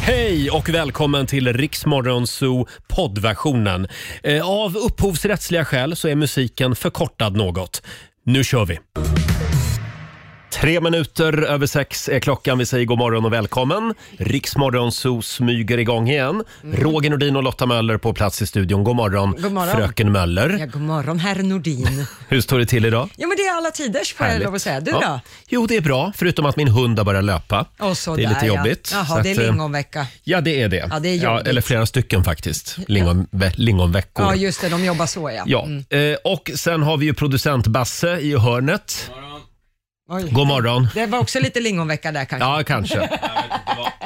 Hej och välkommen till Riksmorgon Zoo poddversionen. Eh, Av upphovsrättsliga skäl så är musiken förkortad något. Nu kör vi! Tre minuter över sex är klockan. Vi säger god morgon och välkommen. Riksmorgon Zoo smyger igång igen. Roger Nordin och Lotta Möller på plats i studion. God morgon, Mm. God morgon. fröken Möller. Ja, god morgon herr Nordin. Hur står det till idag? Ja, men det är alla tiders får jag Härligt. lov att säga. Du Ja. Jo, det är bra. Förutom att min hund har börjat löpa. då? Och så det är där, lite jobbigt. Ja. Så Jaha, det är att, eh, lingonvecka. Ja, det är det. Ja, det är jobbigt. eller flera stycken faktiskt. Lingon, ve- lingonveckor. Ja, Mm. Ja, just det, de jobbar så ja. Eh, och sen har vi ju producent Basse i hörnet. Oj. God morgon. Det var också lite lingonvecka där kanske. Ja, kanske.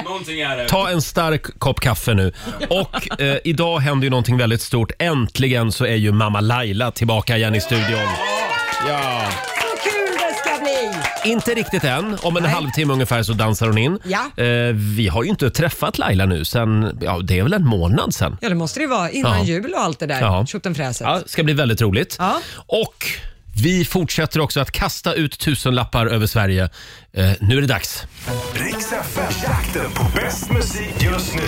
Någonting är det. Ta en stark kopp kaffe nu. Och eh, idag händer ju någonting väldigt stort. Äntligen så är ju mamma Laila tillbaka igen i studion. Ja. Så kul det ska bli! Inte riktigt än. Om en halvtimme ungefär så dansar hon in. Ja. Eh, vi har ju inte träffat Laila nu sen, ja det är väl en månad sen. Ja, det måste det vara innan Ja. jul och allt det Ja. där. Tjottenfräset. Ja, ska bli väldigt roligt. Ja. Och vi fortsätter också att kasta ut tusenlappar över Sverige. Eh, nu är det dags. Riks FM, jakten på bäst musik just nu.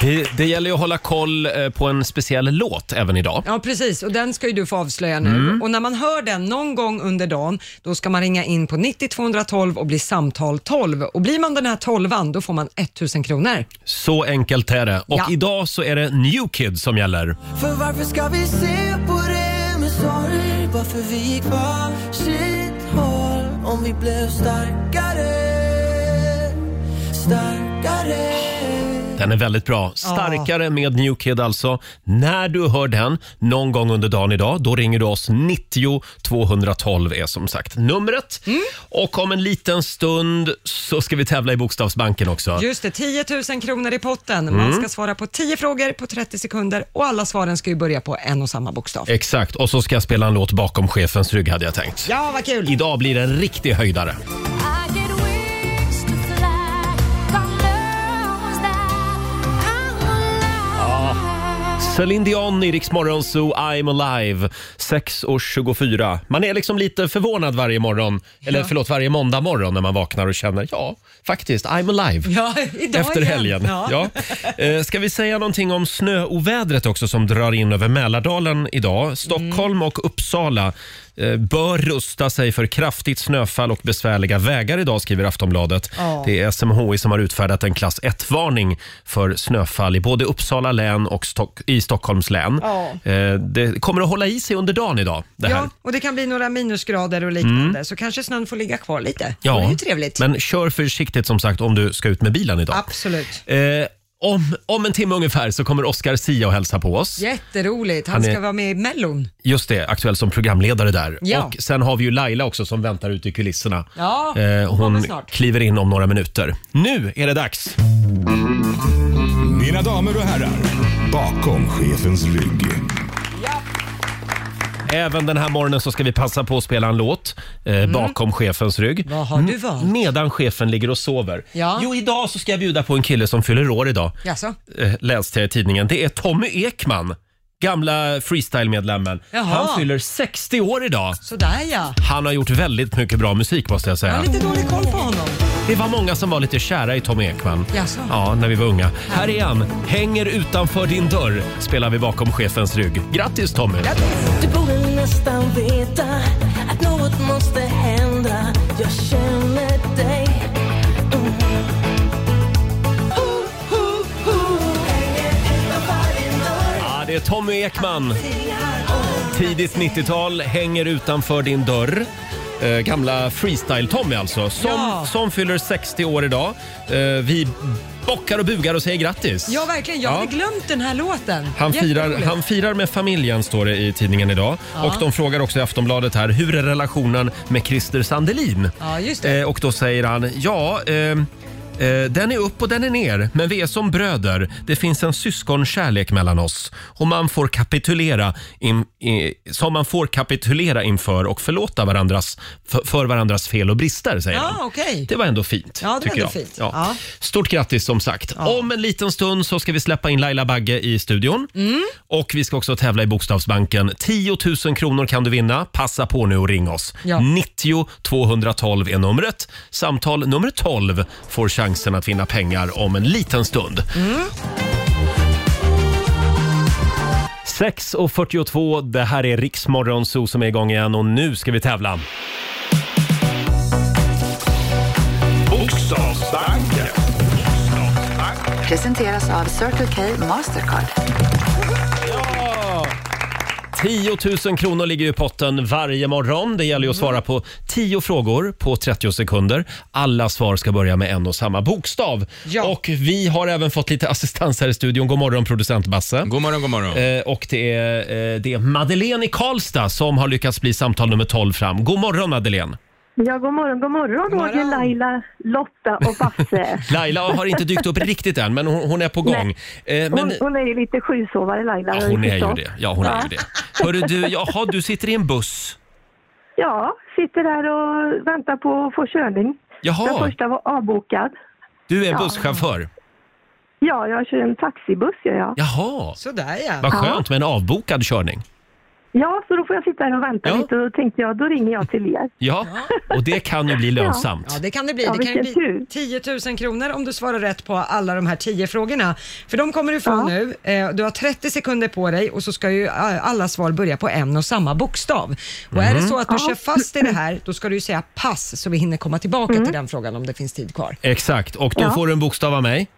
Det, det gäller ju att hålla koll eh, på en speciell låt även idag. Ja, precis. Och den ska ju du få avslöja nu. Mm. Och när man hör den någon gång under dagen, då ska man ringa in på 90 212 och bli samtal 12. Och blir man den här 12 då får man 1000 kronor. Så enkelt är det. Och Ja. idag så är det New Kid som gäller. För varför ska vi se på det med sorg? Varför vi gick varsitt håll om vi blev starkare? Starkare Den är väldigt bra. Starkare med New Kid alltså. När du hör den någon gång under dagen idag, då ringer du oss. 90 212 är som sagt numret. Mm. Och om en liten stund så ska vi tävla i Bokstavsbanken också. Just det, 10 000 kronor i potten. Man Mm. ska svara på 10 frågor på 30 sekunder och alla svaren ska ju börja på en och samma bokstav. Exakt, och så ska jag spela en låt bakom chefens rygg hade jag tänkt. Ja, vad kul! Idag blir det en riktig höjdare. Celine Dion i Rix Morgon Zoo, I'm alive. 6.24. Man är liksom lite förvånad varje morgon, eller förlåt, varje måndag morgon när man vaknar och känner ja, faktiskt, I'm alive. Ja, idag Efter igen. helgen. Ja. Ja. Eh, Ska vi säga någonting om snöovädret också som drar in över Mälardalen idag? Stockholm Mm. och Uppsala eh, bör rusta sig för kraftigt snöfall och besvärliga vägar idag, skriver Aftonbladet. Ja. Det är SMHI som har utfärdat en klass 1-varning för snöfall i både Uppsala län och Stock i Stockholms län. Ja. Eh, Det kommer att hålla i sig under dagen idag. Det här. Ja, och det kan bli några minusgrader och liknande, så kanske snön får ligga kvar lite. Mm. Ja, Det är ju trevligt. Men kör försiktigt som sagt om du ska ut med bilen idag. Absolut. Eh, om, om en timme ungefär så kommer Oscar Sia och hälsa på oss. Jätteroligt. Han, Han är- ska vara med i Mellon. Just det, aktuell som programledare där. Ja. Och sen har vi ju Laila också som väntar ute i kulisserna. Eh, Ja, kommer hon snart. kliver in om några minuter. Nu är det dags! Mina damer och herrar, bakom chefens rygg. Även den här morgonen så ska vi passa på att spela en låt eh, bakom chefens rygg. Mm. Vad har du valt? M- Medan chefen ligger och sover. Ja. Jo, idag så ska jag bjuda på en kille som fyller år idag. Jaså? eh, läste jag i tidningen. Det är Tommy Ekman, gamla freestyle-medlemmen. Jaha. Han fyller 60 år idag. Sådär ja. Han har gjort väldigt mycket bra musik måste jag Jag säga. har lite dålig koll på honom. Det var många som var lite kära i Tommy Ekman. Jaså? Ja, när vi var unga. Här är han. Hänger utanför din dörr spelar vi bakom chefens rygg. Grattis Tommy! Du borde nästan veta att något måste hända Jag känner dig mm. Ooh, ooh, ooh. Hänger utanför din dörr. Ja, det är Tommy Ekman. Oh. Tidigt 90-tal, hänger utanför din dörr. Eh, gamla freestyle-Tommy alltså, som, Ja. som fyller 60 år idag. Eh, vi bockar och bugar och säger grattis. Ja, verkligen. Jag hade glömt den här låten. Han firar, Jätteroligt. han firar med familjen, står det i tidningen idag. Och de frågar också i Aftonbladet här, hur är relationen med Christer Sandelin? Ja, just det. Eh, och då säger han, ja, eh, Eh, Den är upp och den är ner, men vi är som bröder. Det finns en syskonkärlek mellan oss och man får kapitulera in, i, som man får kapitulera inför och förlåta varandras, för, för varandras fel och brister, säger Ja, han. okej. Det var ändå fint. Ja, det var tycker ändå jag. fint. Ja. Ja. Stort grattis som sagt. Om en liten stund så ska vi släppa in Laila Bagge i studion. Mm. Och vi ska också tävla i Bokstavsbanken. 10 000 kronor kan du vinna. Passa på nu och ring oss. Ja. 90 212 är numret. Samtal nummer 12 får chansen att vinna pengar om en liten stund. Mm. 6.42, det här är Riksmorgon Zoo som är igång igen och nu ska vi tävla. Bokstavsbanken. Presenteras av Circle K Mastercard. 10 000 kronor ligger i potten varje morgon. Det gäller ju att svara på 10 frågor på 30 sekunder. Alla svar ska börja med en och samma bokstav. Ja. Och vi har även fått lite assistans här i studion. God morgon producent Basse. God morgon, god morgon. Eh, och det är, eh, det är Madeleine i Karlstad som har lyckats bli samtal nummer 12 fram. God morgon Madeleine! Ja, god morgon, god morgon, God Roger, morgon. Laila, Lotta och Basse. Laila har inte dykt upp riktigt än, men hon, hon är på gång. Eh, men, Hon, liksom. hon är ju lite sjusovare, Laila. ja, har jag hon är ju förstått. det. Ja, hon är ju det. Hörru du, jaha, du sitter i en buss. Ja, sitter där och väntar på att få körning. Den Jaha, första var avbokad. du är busschaufför. Ja, jag kör en taxibuss, gör jag. Jaha. Sådär ja. Vad skönt med en avbokad körning. Ja, så då får jag sitta här och vänta Ja. lite och tänkte jag, då ringer jag till er. Ja, och det kan ju bli lönsamt. Ja, det kan det bli. Ja, Det kan ju vilken bli 10 000 kronor om du svarar rätt på alla de här 10 frågorna. För de kommer du få Ja. nu. Eh, Du har 30 sekunder på dig och så ska ju eh, alla svar börja på en och samma bokstav. Och Mm. är det så att du kör fast i det här, då ska du ju säga pass så vi hinner komma tillbaka Mm. till den frågan om det finns tid kvar. Exakt, och då Ja. får du en bokstav av mig.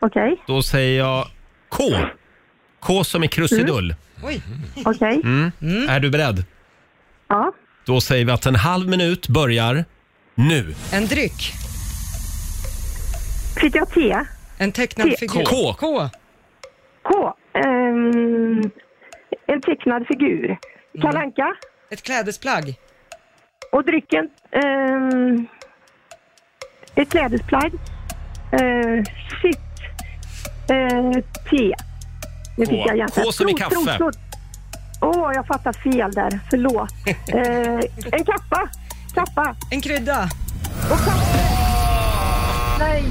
Okej, Då säger jag K. K som i krusidull. Oj, okej. Mm. Mm. Är du beredd? Ja, Då säger vi att en halv minut börjar nu. en dryck. fick jag T? En tecknad K. figur. K. K. K? Ehm, en tecknad figur. Kalle Mm. Anka? Ett klädesplagg. Och drycken? ehm, ett klädesplagg. Uh, sitt. eh, te. Nu fick jag hjärtat. K som i Flod, flod, kaffe. flod. Åh, jag fattar fel där. Förlåt. Eh, en kappa. Kappa. En krydda. Och kaffe. Nej,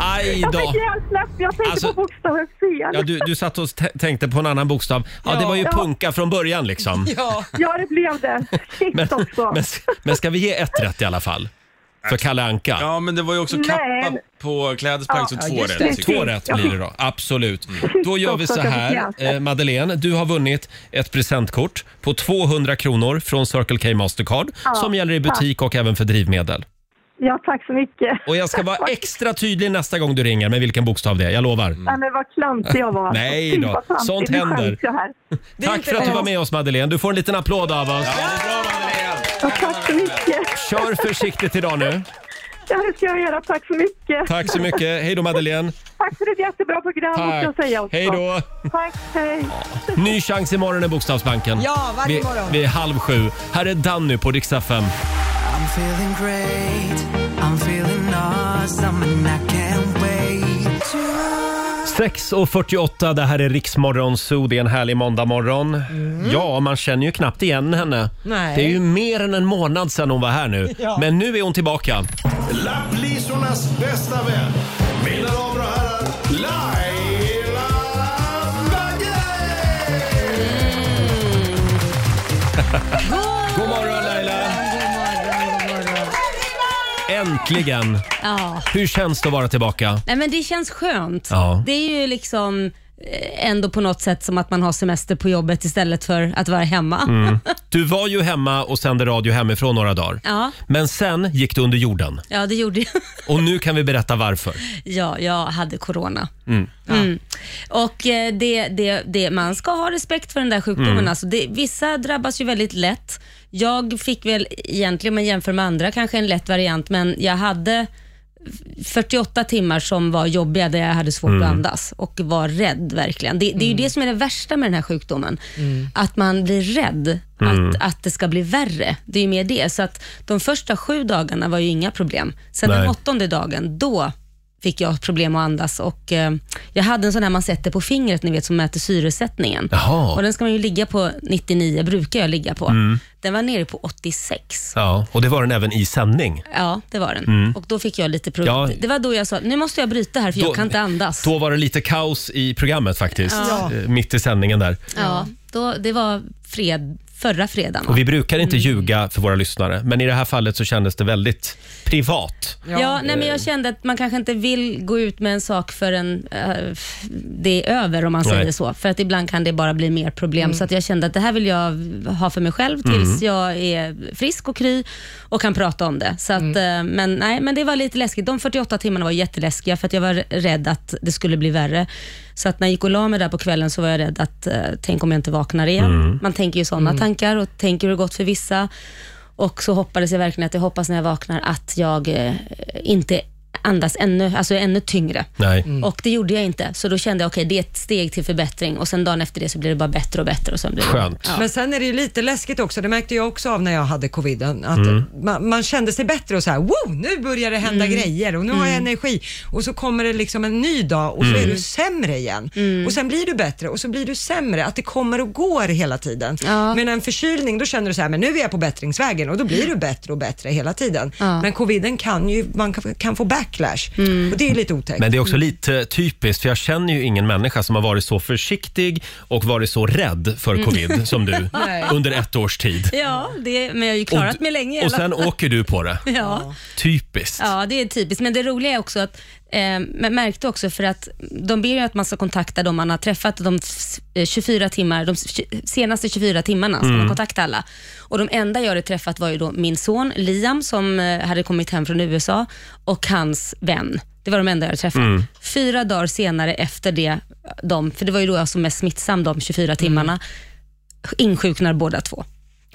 Aj jag då! fick helt släpp. Jag tänkte Alltså- på bokstaven fel. Ja, du, du satt och tä- tänkte på en annan bokstav. Ja, det var ju Ja. punka från början liksom. Ja. Ja, det blev det. Shit Men, också. men, men ska vi ge ett rätt i alla fall? Äh. För Kalle Anka. Ja, men det var ju också Nej. kappa på klädesplagg, så Ja, två just det. rätt. tycker Två jag. rätt blir det då, absolut. Mm. Då gör vi så Stockholm, här, Stockholm. eh, Madeleine, du har vunnit ett presentkort på 200 kronor från Circle K Mastercard som gäller i butik och även för drivmedel. Ja, tack så mycket. Och jag ska vara extra tydlig nästa gång du ringer med vilken bokstav det är, jag lovar. Mm. Nej, men vad klantig jag var. Nej Fy, då. vad klantig. Sånt Nu händer. skäms jag här. Det är Tack inte för att du rätt. var med oss Madeleine, du får en liten applåd av oss. Ja, tack så mycket. Kör försiktigt idag nu. Ja, det ska jag göra. Tack så mycket. Tack så mycket, hej då Madeleine. Tack för ett jättebra program, måste jag Tack. säga också. Hej då. Tack, hej. Ny chans imorgon i Bokstavsbanken. Ja, varje vi, morgon. Vi är halv sju. Här är Danny på Rix FM. I'm feeling great, I'm feeling awesome and I can't wait to 6.48, det här är Riksmorgon Zoo. Det är en härlig måndagmorgon. Mm. Ja, man känner ju knappt igen henne. Nej. Det är ju mer än en månad sedan hon var här nu. Ja. Men nu är hon tillbaka. Lapplisornas bästa vän. Mina damer och herrar, Laila Bagge! God morgon Laila! Äntligen! Ja, Hur känns det att vara tillbaka? nej men det känns skönt. Ja. Det är ju liksom eh, ändå på något sätt som att man har semester på jobbet istället för att vara hemma. Du var ju hemma och sände radio hemifrån några dagar. Ja. Men sen gick du under jorden. Ja, det gjorde jag. Och nu kan vi berätta varför. Ja, jag hade corona. Mm. Och eh, det, det, det, man ska ha respekt för den där sjukdomen. Alltså det, vissa drabbas ju väldigt lätt. Jag fick väl egentligen, om man jämför med andra, kanske en lätt variant, men jag hade 48 timmar som var jobbiga där jag hade svårt att andas och var rädd verkligen. Det, det är ju det som är det värsta med den här sjukdomen. Att man blir rädd att, att det ska bli värre. Det är ju mer det. Så att de första sju dagarna var ju inga problem. Sen Nej. den åttonde dagen, då fick jag problem att andas och eh, jag hade en sån här man sätter på fingret, ni vet, som mäter syresättningen. Jaha. Mm. Och den ska man ju ligga på 99, brukar jag ligga på. Den var nere på 86. Ja, och det var den även i sändning. Ja, det var den. Mm. Och då fick jag lite pro- Ja. Det var då jag sa, nu måste jag bryta här för Då- jag kan inte andas. Då var det lite kaos i programmet faktiskt, eh, mitt i sändningen där. ja, då, det var fred, förra fredagen. Mm. Och va? vi brukar inte ljuga för våra lyssnare, men i det här fallet så kändes det väldigt privat. Ja, nej, men jag kände att man kanske inte vill gå ut med en sak förrän eh, det är över, om man Nej. säger så. För att ibland kan det bara bli mer problem. Så att jag kände att det här vill jag ha för mig själv tills jag är frisk och kry och kan prata om det. Så att, eh, men, nej, men det var lite läskigt. De 48 timmarna var jätteläskiga för att jag var rädd att det skulle bli värre. Så att när jag gick och la mig där på kvällen så var jag rädd att, eh, tänk om jag inte vaknar igen. Man tänker ju sådana tankar och tänker hur det gått för vissa. Och så hoppades jag verkligen att jag hoppas när jag vaknar att jag eh, inte andas ännu, alltså är ännu tyngre. Nej. Och det gjorde jag inte, så då kände jag okej, det är ett steg till förbättring och sen dagen efter det så blir det bara bättre och bättre. Och sen blir det... Skönt. Men sen är det ju lite läskigt också, det märkte jag också av när jag hade coviden, att man, man kände sig bättre och så här, wow, nu börjar det hända grejer och nu har jag energi. Och så kommer det liksom en ny dag och så är du sämre igen. Och sen blir du bättre och så blir du sämre, att det kommer och går hela tiden. Ja. Men en förkylning, då känner du så här, men nu är jag på bättringsvägen och då blir du bättre och bättre hela tiden. Ja. Men coviden kan ju, man kan, kan få backlash och det är ju lite otäckt. Men det är också lite typiskt, för jag känner ju ingen människa som har varit så försiktig och varit så rädd Mm. för covid som du Nej. under ett års tid. Ja, det, men jag har ju klarat mig länge. i och alla sen fall. åker du på det. ja. Typiskt. Ja, det är typiskt. Men det roliga är också att, eh, jag märkte också för att de ber ju att man ska kontakta de man har träffat de f- eh, 24 timmar, de s- senaste 24 timmarna ska Mm. man kontakta alla. Och de enda jag hade träffat var ju då min son Liam som eh, hade kommit hem från USA och hans vän. Det var de enda jag hade träffat. Mm. Fyra dagar senare efter det, de, för det var ju då jag som mest smittsam de 24 timmarna, insjuknar båda två.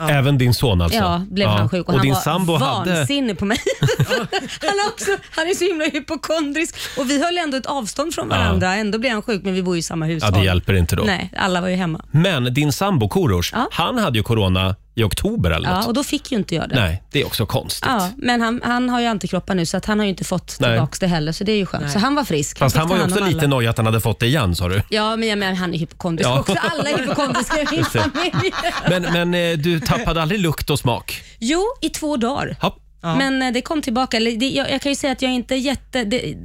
Även din son alltså. Ja, blev han sjuk. Och, han din var sambo hade... vansinnig på mig. han, är också, han är så himla hypokondrisk. Och vi höll ändå ett avstånd från varandra. Ändå blev han sjuk, men vi bor ju i samma Ja, hushåll. det hjälper inte då. Nej, alla var ju hemma. Men din sambo Korosh, Ja. han hade ju corona i oktober eller något. Ja, och då fick ju inte jag det. Nej, det är också konstigt. Ja, men han, han har ju antikroppar nu, så att han har ju inte fått Nej. tillbaka det heller, så det är ju skönt. Så han var frisk. Fast fick han var ju ta hand också om alla. lite nojig att han hade fått det igen sa du. Ja, men jag menar, han är hypokondrisk Ja. också. Alla är hypokondriska i min Just det. familj. Men, men eh, du tappade aldrig lukt och smak? Jo, i två dagar. Ja. Men eh, det kom tillbaka. Eller Det, jag, jag kan ju säga att jag är inte jätte... Det,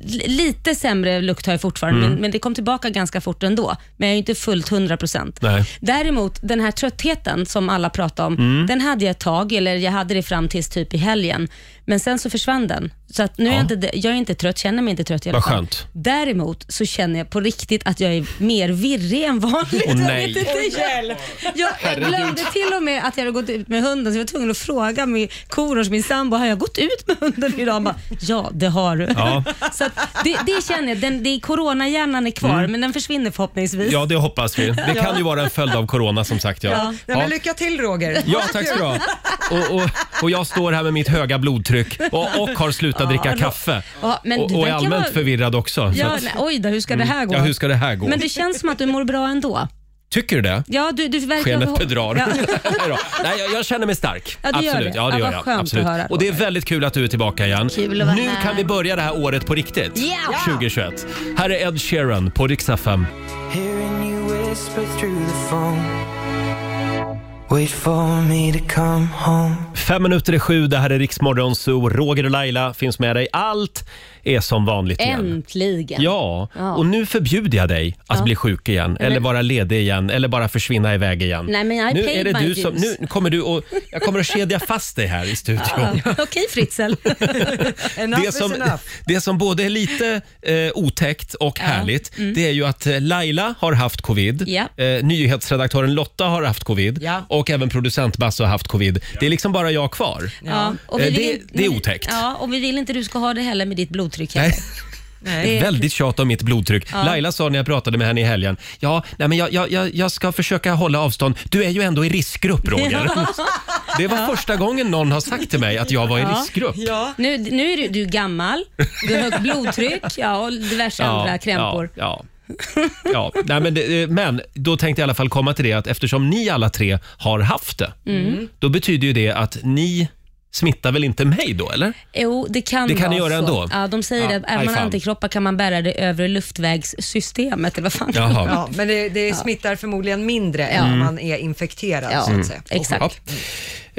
li- lite sämre lukt har jag fortfarande, Mm. men, men det kom tillbaka ganska fort ändå. Men jag är ju inte fullt 100 procent. Nej. Däremot, den här tröttheten som alla pratar om, den hade jag ett tag, eller jag hade det fram tills typ i helgen. Men sen så försvann den. Så att nu är jag, inte, det- jag är inte trött, känner mig inte trött i alla Vad fall. skönt. Däremot så känner jag på riktigt att jag är mer virrig än vanligt. Åh, Jag nej. vet inte, jag, jag glömde till och med att jag hade gått ut med hunden, så jag var tvungen att fråga min Korosh, min sambo, har jag gått ut med hunden idag? Han bara, ja, det har du. Ja. Så att det, det känner jag, den, det är coronahjärnan är kvar, Mm. men den försvinner förhoppningsvis. Ja, det hoppas vi. Det kan ju vara en följd av corona som sagt. Ja, Nej, men lycka till Roger. Ja, tack så bra. Och, och, och jag står här med mitt höga blodtryck och, och har slutat dricka kaffe. Ja, men och, du och är verkar allmänt vara- förvirrad också. så Ja, att, Mm. nej, oj då, hur ska det här gå? ja, hur ska det här gå? Men det känns som att du mår bra ändå. Tycker du det? Ja, du, du verkar Skenet ha- bedrar. Ja. Nej då. Nej, jag, jag känner mig stark. Ja, det gör Absolut. det. Ja, det Ja, gör vad jag. skönt att Absolut. höra, Och det är Roger. väldigt kul att du är tillbaka igen. Kul att vara nu här. kan vi börja det här året på riktigt. Ja! 2021. Här är Ed Sheeran på Rix FM. Hearing you whisper through the phone. Wait for me to come home. Fem minuter i sju, det här är Riksmorgon Zoo. Roger och Laila finns med dig. Allt är som vanligt igen. Äntligen. Ja, Ja. och nu förbjuder jag dig att bli sjuk igen, eller vara ledig igen, eller bara försvinna iväg igen. Nej, men I nu paid är det my du som, dues. nu kommer du och, jag kommer att kedja fast dig här i Ja. studion. Okej Fritzl. Enough Det som, is enough. det som både är lite eh, otäckt och härligt, det är ju att eh, Laila har haft covid, Mm. Ja. eh, nyhetsredaktören Lotta har haft covid Ja. och även producent Basse har haft covid. Det är liksom bara jag kvar. Ja, och Eh, vi vill det- in- det är otäckt. Ja, och vi vill inte du ska ha det heller med ditt blodtryck. Nej. heller. Nej. Det är Väldigt tjat om mitt blodtryck. Ja. Laila sa när jag pratade med henne i helgen, ja, nej, men jag, jag, jag, jag ska försöka hålla avstånd. Du är ju ändå i riskgrupp, Roger. Det var första gången någon har sagt till mig att jag var i Ja. riskgrupp. Ja. Nu, nu är du, du är gammal, du har högt blodtryck ja, och diverse andra krämpor. Ja, ja. ja. Nej, men, det, eh, men då tänkte jag i alla fall komma till det att eftersom ni alla tre har haft det, Mm. då betyder ju det att ni smittar väl inte mig då, eller? Jo, det kan Det kan vara ni göra så. ändå. Ja, de säger Ja, att är aj man fan. antikroppar kan man bära det övre luftvägssystemet eller vad fan. Jaha. Ja, men det, det smittar förmodligen mindre än om man är infekterad Mm. Ja, Mm. så att säga. exakt. Ja.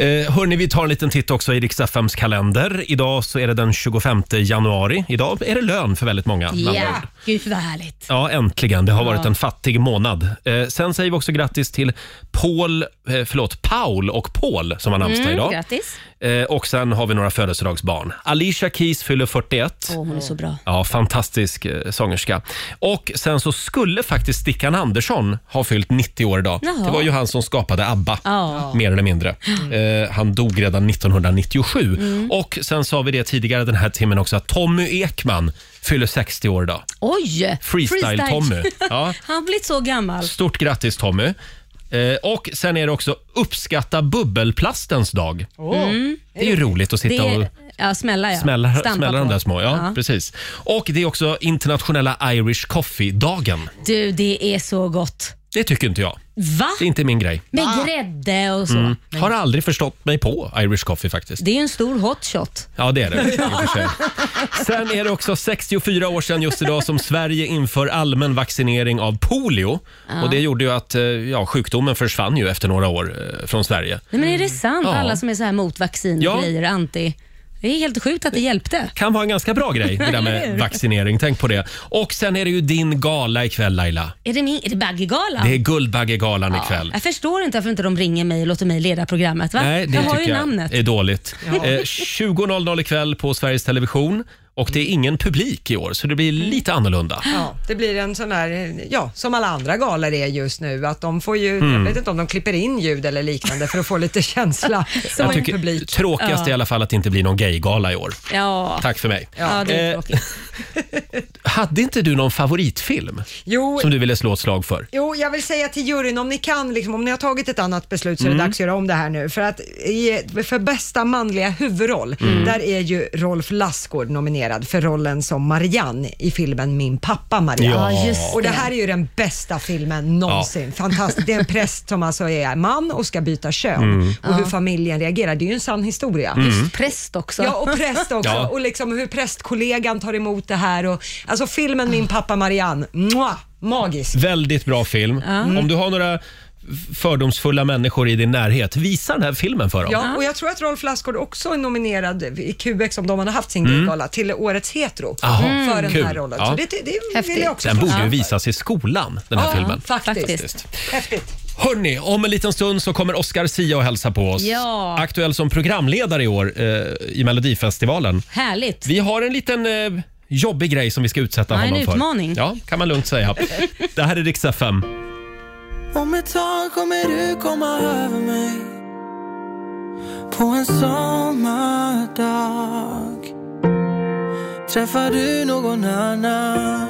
Eh, hörni, vi tar en liten titt också i Riks-FMs kalender. Idag så är det den 25 januari. Idag är det lön för väldigt många. med Ja, andra ord. gud vad härligt. Ja, äntligen. Det har varit en fattig månad. Eh, sen säger vi också grattis till Paul, eh, förlåt, Paul och Paul som har namnsdag idag. Mm, Grattis. Eh, och sen har vi några födelsedagsbarn. Alicia Keys fyller 41. Åh, hon är så bra. Ja, fantastisk eh, sångerska. Och sen så skulle faktiskt Stickan Andersson ha fyllt 90 år idag. Jaha. Det var ju han som skapade ABBA, Ja. mer eller mindre. Eh, han dog redan 1997. Mm. Och sen sa vi det tidigare den här timmen också, att Tommy Ekman fyller 60 år idag. Oj! Freestyle-Tommy. Ja. Han har blivit så gammal. Stort grattis Tommy. Eh, och sen är det också uppskatta bubbelplastens dag. Det är ju roligt att Mm. Det sitta och är, ja, smälla ja. Smäller, Stampa smäller de på. där små, ja, Ja. precis. Och det är också internationella Irish Coffee-dagen. Du, det är så gott. Det tycker inte jag. Va? Det är inte min grej. Med grädde och så. Har aldrig förstått mig på Irish Coffee faktiskt. Det är ju en stor hot shot. Ja, det är det. i och för sig. Sen är det också 64 år sedan just idag som Sverige inför allmän vaccinering av polio. Och det gjorde ju att eh, ja, sjukdomen försvann ju efter några år eh, från Sverige. Nej, men är det sant? Ja. Alla som är så här mot vaccin Ja. och grejer, anti. Det är helt sjukt att det hjälpte. Kan vara en ganska bra grej det där Eller med hur? vaccinering. Tänk på det. Och sen är det ju din gala ikväll Laila. Är det, min, är det Baggegalan? Det är Guldbaggegalan Ja. ikväll. Jag förstår inte varför inte de ringer mig och låter mig leda programmet. Va? Nej, det jag har tycker ju jag namnet. är dåligt. Eh, 20.00 ikväll på Sveriges Television och det är ingen publik i år så det blir Mm. lite annorlunda. Ja, det blir en sån här, ja, som alla andra galor är just nu, att de får ju, Mm. jag vet inte om de klipper in ljud eller liknande för att få lite känsla som Jag en tycker publik. tråkigast är i alla fall att det inte blir någon gaygala i år. Ja. Tack för mig. ja, det är Eh, tråkigt. Hade inte du någon favoritfilm Jo, som du ville slå ett slag för? Jo, jag vill säga till juryn, om ni kan, liksom, om ni har tagit ett annat beslut så är det dags att göra om det här nu. För att i, för bästa manliga huvudroll, där är ju Rolf Lassgård nominerad för rollen som Marianne i filmen Min pappa Marianne. Ja. Ja, just Och det här är ju den bästa filmen någonsin. Fantastiskt. Det är en präst som alltså är man och ska byta kön. Och hur familjen reagerar, det är ju en sann historia. Mm. Präst också. Ja, och präst också. Ja. Och liksom hur prästkollegan tar emot det här. Och, alltså filmen Min pappa Marianne, mwah, magisk. Väldigt bra film. Om du har några fördomsfulla människor i din närhet, visa den här filmen för dem. Ja, och jag tror att Rolf Lassgård också är nominerad i QX, om de hade haft sin guldgala, till årets hetero Mm. Jaha, för den kul. här rollen. Ja. Så det, det vill Häftigt. jag också Den borde slå ju för. visas i skolan, den här Ja, filmen. Faktiskt. Faktiskt. Häftigt. Hörni, om en liten stund så kommer Oscar Sia och hälsa på oss. Ja. Aktuell som programledare i år eh, i Melodifestivalen. Härligt. Vi har en liten eh, jobbig grej som vi ska utsätta Ja, en honom för. utmaning. Ja, kan man lugnt säga. Det här är Rix FM. Om ett tag kommer du komma över mig På en sommardag Träffar du någon annan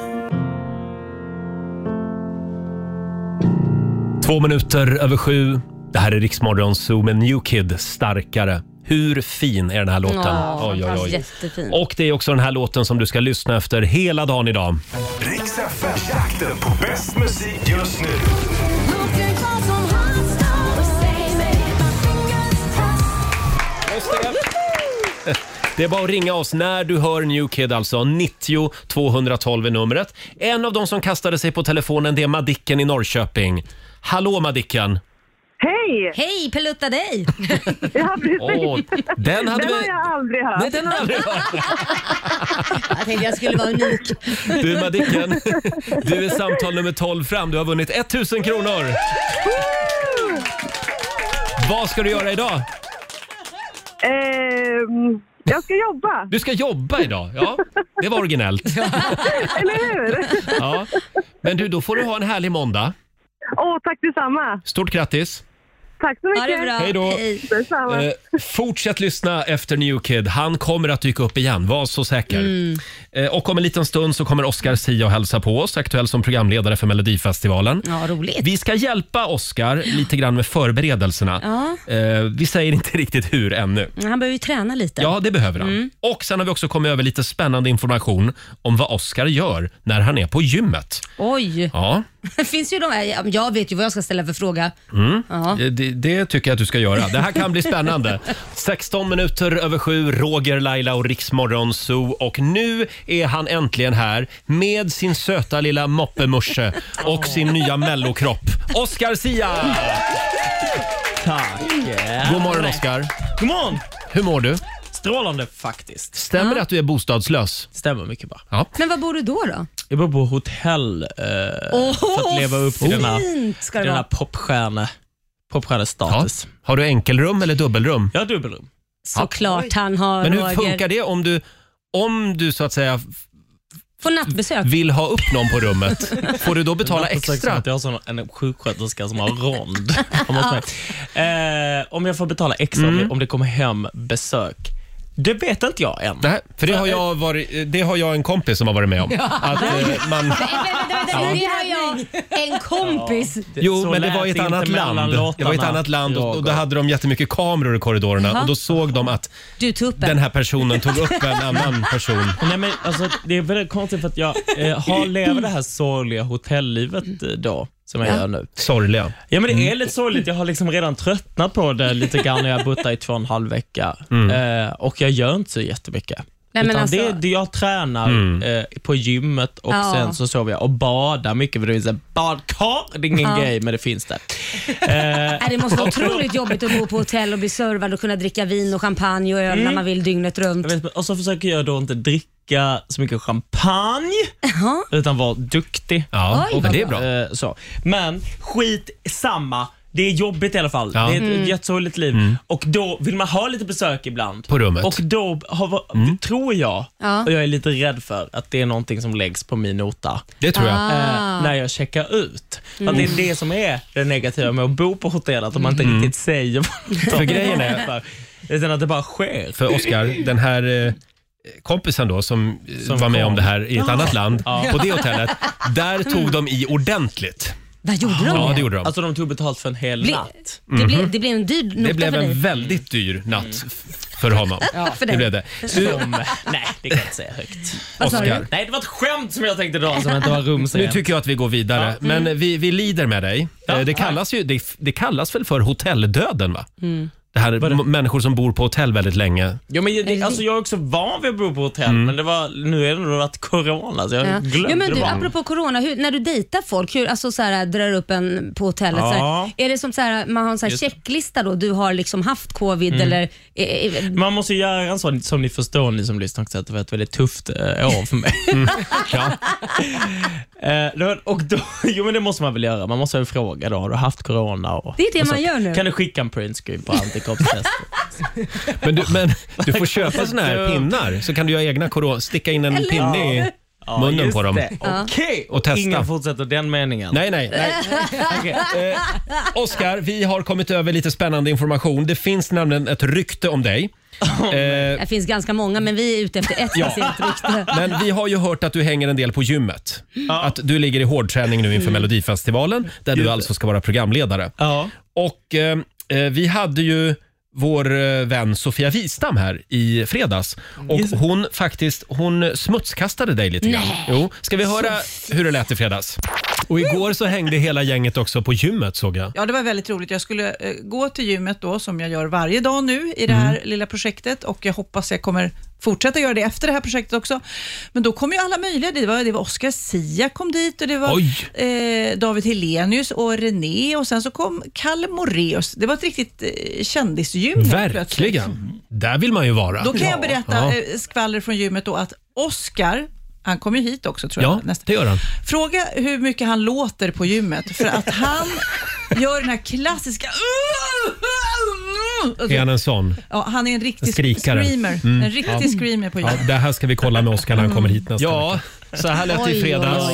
Två minuter över sju. Det här är Riksmorgon Zoo med New Kid, Starkare. Hur fin är den här låten? Ja, fantastiskt. Jättefin. Och det är också den här låten som du ska lyssna efter hela dagen idag. Riks FM-jakten på bäst musik just nu. Det är bara att ringa oss när du hör New Kid alltså. 90 212 är numret. En av de som kastade sig på telefonen det är Madicken i Norrköping. Hallå Madicken! Hej! Hej, pelutta dig! Ja, precis. Åh, den hade Den har vi... jag aldrig hört. Nej, den har jag aldrig hört. Jag tänkte jag skulle vara unik. Du Madicken, du är samtal nummer 12 fram. Du har vunnit 1000 kronor! Vad ska du göra idag? Ehm, jag ska jobba, Du ska jobba idag. Ja, det var originellt. eller hur? Ja. Men du, då får du ha en härlig måndag. Åh, tack detsamma. Stort grattis! Tack så mycket. Ha det bra. Hej då. Detsamma. Eh, fortsätt lyssna efter New Kid. Han kommer att dyka upp igen, var så säker. Mm. Eh, och om en liten stund så kommer Oscar Sia och hälsa på oss, aktuell som programledare för Melodifestivalen. Ja, roligt. Vi ska hjälpa Oscar lite grann med förberedelserna. Ja. Eh, vi säger inte riktigt hur ännu. Han behöver ju träna lite. Ja, det behöver han. Mm. Och sen har vi också kommit över lite spännande information om vad Oscar gör när han är på gymmet. Oj. Ja, Det finns ju de här, jag vet ju vad jag ska ställa för fråga. Ja. Eh, Det, det tycker jag att du ska göra. Det här kan bli spännande. 16 minuter över sju, Roger, Laila och Riksmorgon Zoo. Och nu är han äntligen här med sin söta lilla moppemusche och sin nya mellokropp. Oscar Sia! Tack. God morgon Oscar. God morgon! Hur mår du? Strålande faktiskt. Stämmer det att du är bostadslös? Stämmer mycket bra. Men var bor du då? då? Jag bor på hotell eh, Åh, för att leva upp till den här, Fint ska det den här vara. popstjärne, Ja. popstjärnestatus. Har du enkelrum eller dubbelrum? Jag har dubbelrum. Såklart han har Men hur Roger. funkar det om du, om du så att säga Får nattbesök. vill ha upp någon på rummet? Får du då betala Jag försöker som extra? Att jag har sån, en sjuksköterska som har rond. Om man säger. eh, om jag får betala extra om, Mm. det, om det kommer hem besök. Det vet inte jag än. Nej, för det har, jag varit, det har jag en kompis som har varit med om. Att eh, man, Vänta, vänta, vänta, Det har jag en kompis. Det- jo, så men det lät var i ett inte annat mellan land. Det var i ett låtarna, annat land och, och då Roger. hade de jättemycket kameror i korridorerna Jaha. och då såg de att Du tuppen. den här personen tog upp en annan person. Nej, men, alltså, det är väldigt konstigt för att jag eh, har lever det här sorgliga hotelllivet eh, då, som jag gör nu. Sorgliga. Ja, men Mm. det är lite sorgligt. Jag har liksom redan tröttnat på det lite grann när jag har bott där i två och en halv vecka. Eh, och jag gör inte så jättemycket. Mm. Nej, men Utan alltså- Mm. det, det jag tränar eh, på gymmet och Ja. sen så sover jag och badar mycket för det finns en badkar. Det är ingen grej, men det finns det. Nej, Äh, det måste vara otroligt jobbigt att bo på hotell och bli servad och kunna dricka vin och champagne och öl Mm. när man vill dygnet runt. Jag vet, och så försöker jag då inte dricka så mycket champagne, utan vara duktig. Ja, Oj, men vad det är bra. Eh, så. Men skit samma. Det är jobbigt i alla fall. Ja. Mm. Det är ett jättesorgligt liv. Och då vill man ha lite besök ibland. På rummet. Mm. Och då har, tror jag, Ja. och jag är lite rädd för, att det är någonting som läggs på min nota Det tror Ah. jag. eh, när jag checkar ut. Att det är det som är det negativa med att bo på hotell, att man inte riktigt säger vad Mm. För grejen är- Utan att det bara sker. För Oscar, den här eh, kompisen då som, eh, Som var med kom. om det här i Ah. ett annat land, på det hotellet, där tog de i ordentligt. Mm. Vad gjorde de? Ja, med? det gjorde de. Alltså de tog betalt för en hel Bli- natt. det, Mhm. blev, det blev en dyr nota Det blev för dig. en väldigt dyr natt f- för honom. Mm. det för dig. blev det. Du, Som, nej, det kan jag inte säga högt. Vad sa Oscar. du? Nej, det var ett skämt som jag tänkte dra som inte var Nu rumsrent. tycker jag att vi går vidare, men vi, vi lider med dig. Mm. Ja. Eh, Det, kallas ju, det, det kallas väl för hotelldöden? va? Mm. Det här m- människor som bor på hotell väldigt länge. Ja, men det, alltså, jag är också van vid att bo på hotell, Mm. men det var, nu är det nog att corona, så jag Ja. glömde ja, men det du, bara. apropå corona, hur, när du dejtar folk, hur, alltså så här, drar upp en på hotellet, Ja. så här, är det som så här, man har en så här Just det. Mm. checklista då, du har liksom haft covid eller... eh, eh, Man måste göra en sån, som ni förstår ni som lyssnar också, att det var ett väldigt tufft eh, år för mig. Mm. Ja. Eh, då- och då, jo men det måste man väl göra, man måste väl fråga då, har du haft corona? Och, Det är det och så, man gör nu. Kan du skicka en printscreen på antikroppstest? Men, du, men du får köpa såna här pinnar så kan du göra egna corona, sticka in en pinne i munnen just på dem. det. Okej, Och testa. ingen fortsätter den meningen. Nej, nej, nej. Okej. eh, Oskar, vi har kommit över lite spännande information. Det finns nämligen ett rykte om dig. Eh, det finns ganska många, men vi är ute efter ett speciellt rykte. men vi har ju hört att du hänger en del på gymmet. Att du ligger i hårdträning nu inför Mm. Melodifestivalen där du alltså ska vara programledare. Ja. Och eh, eh, vi hade ju vår eh, vän Sofia Wistam här i fredags. Och hon faktiskt, hon smutskastade dig lite grann. Jo, ska vi höra hur det lät i fredags? Och igår så hängde hela gänget också på gymmet såg jag. Ja, det var väldigt roligt. Jag skulle eh, gå till gymmet då, som jag gör varje dag nu i det här Mm. lilla projektet och jag hoppas jag kommer fortsätta göra det efter det här projektet också. Men då kom ju alla möjliga dit. Det var, det var Oscar Sia kom dit och det var Oj. eh, David Helenius och René och sen så kom Kalle Moreus. Det var ett riktigt eh, kändisgym. helt plötsligt. Verkligen. Där vill man ju vara. Då kan jag Ja. berätta eh, skvaller från gymmet då att Oscar, han kommer ju hit också tror Ja, jag. nästa- det gör han. Fråga hur mycket han låter på gymmet för att han gör den här klassiska... Är han en sån? Ja, han är en riktig Skrikare. screamer. En riktig screamer på Ja, gymmet. det här ska vi kolla med Oskar när han kommer hit nästa Ja, vecka. Så här lät det i fredags.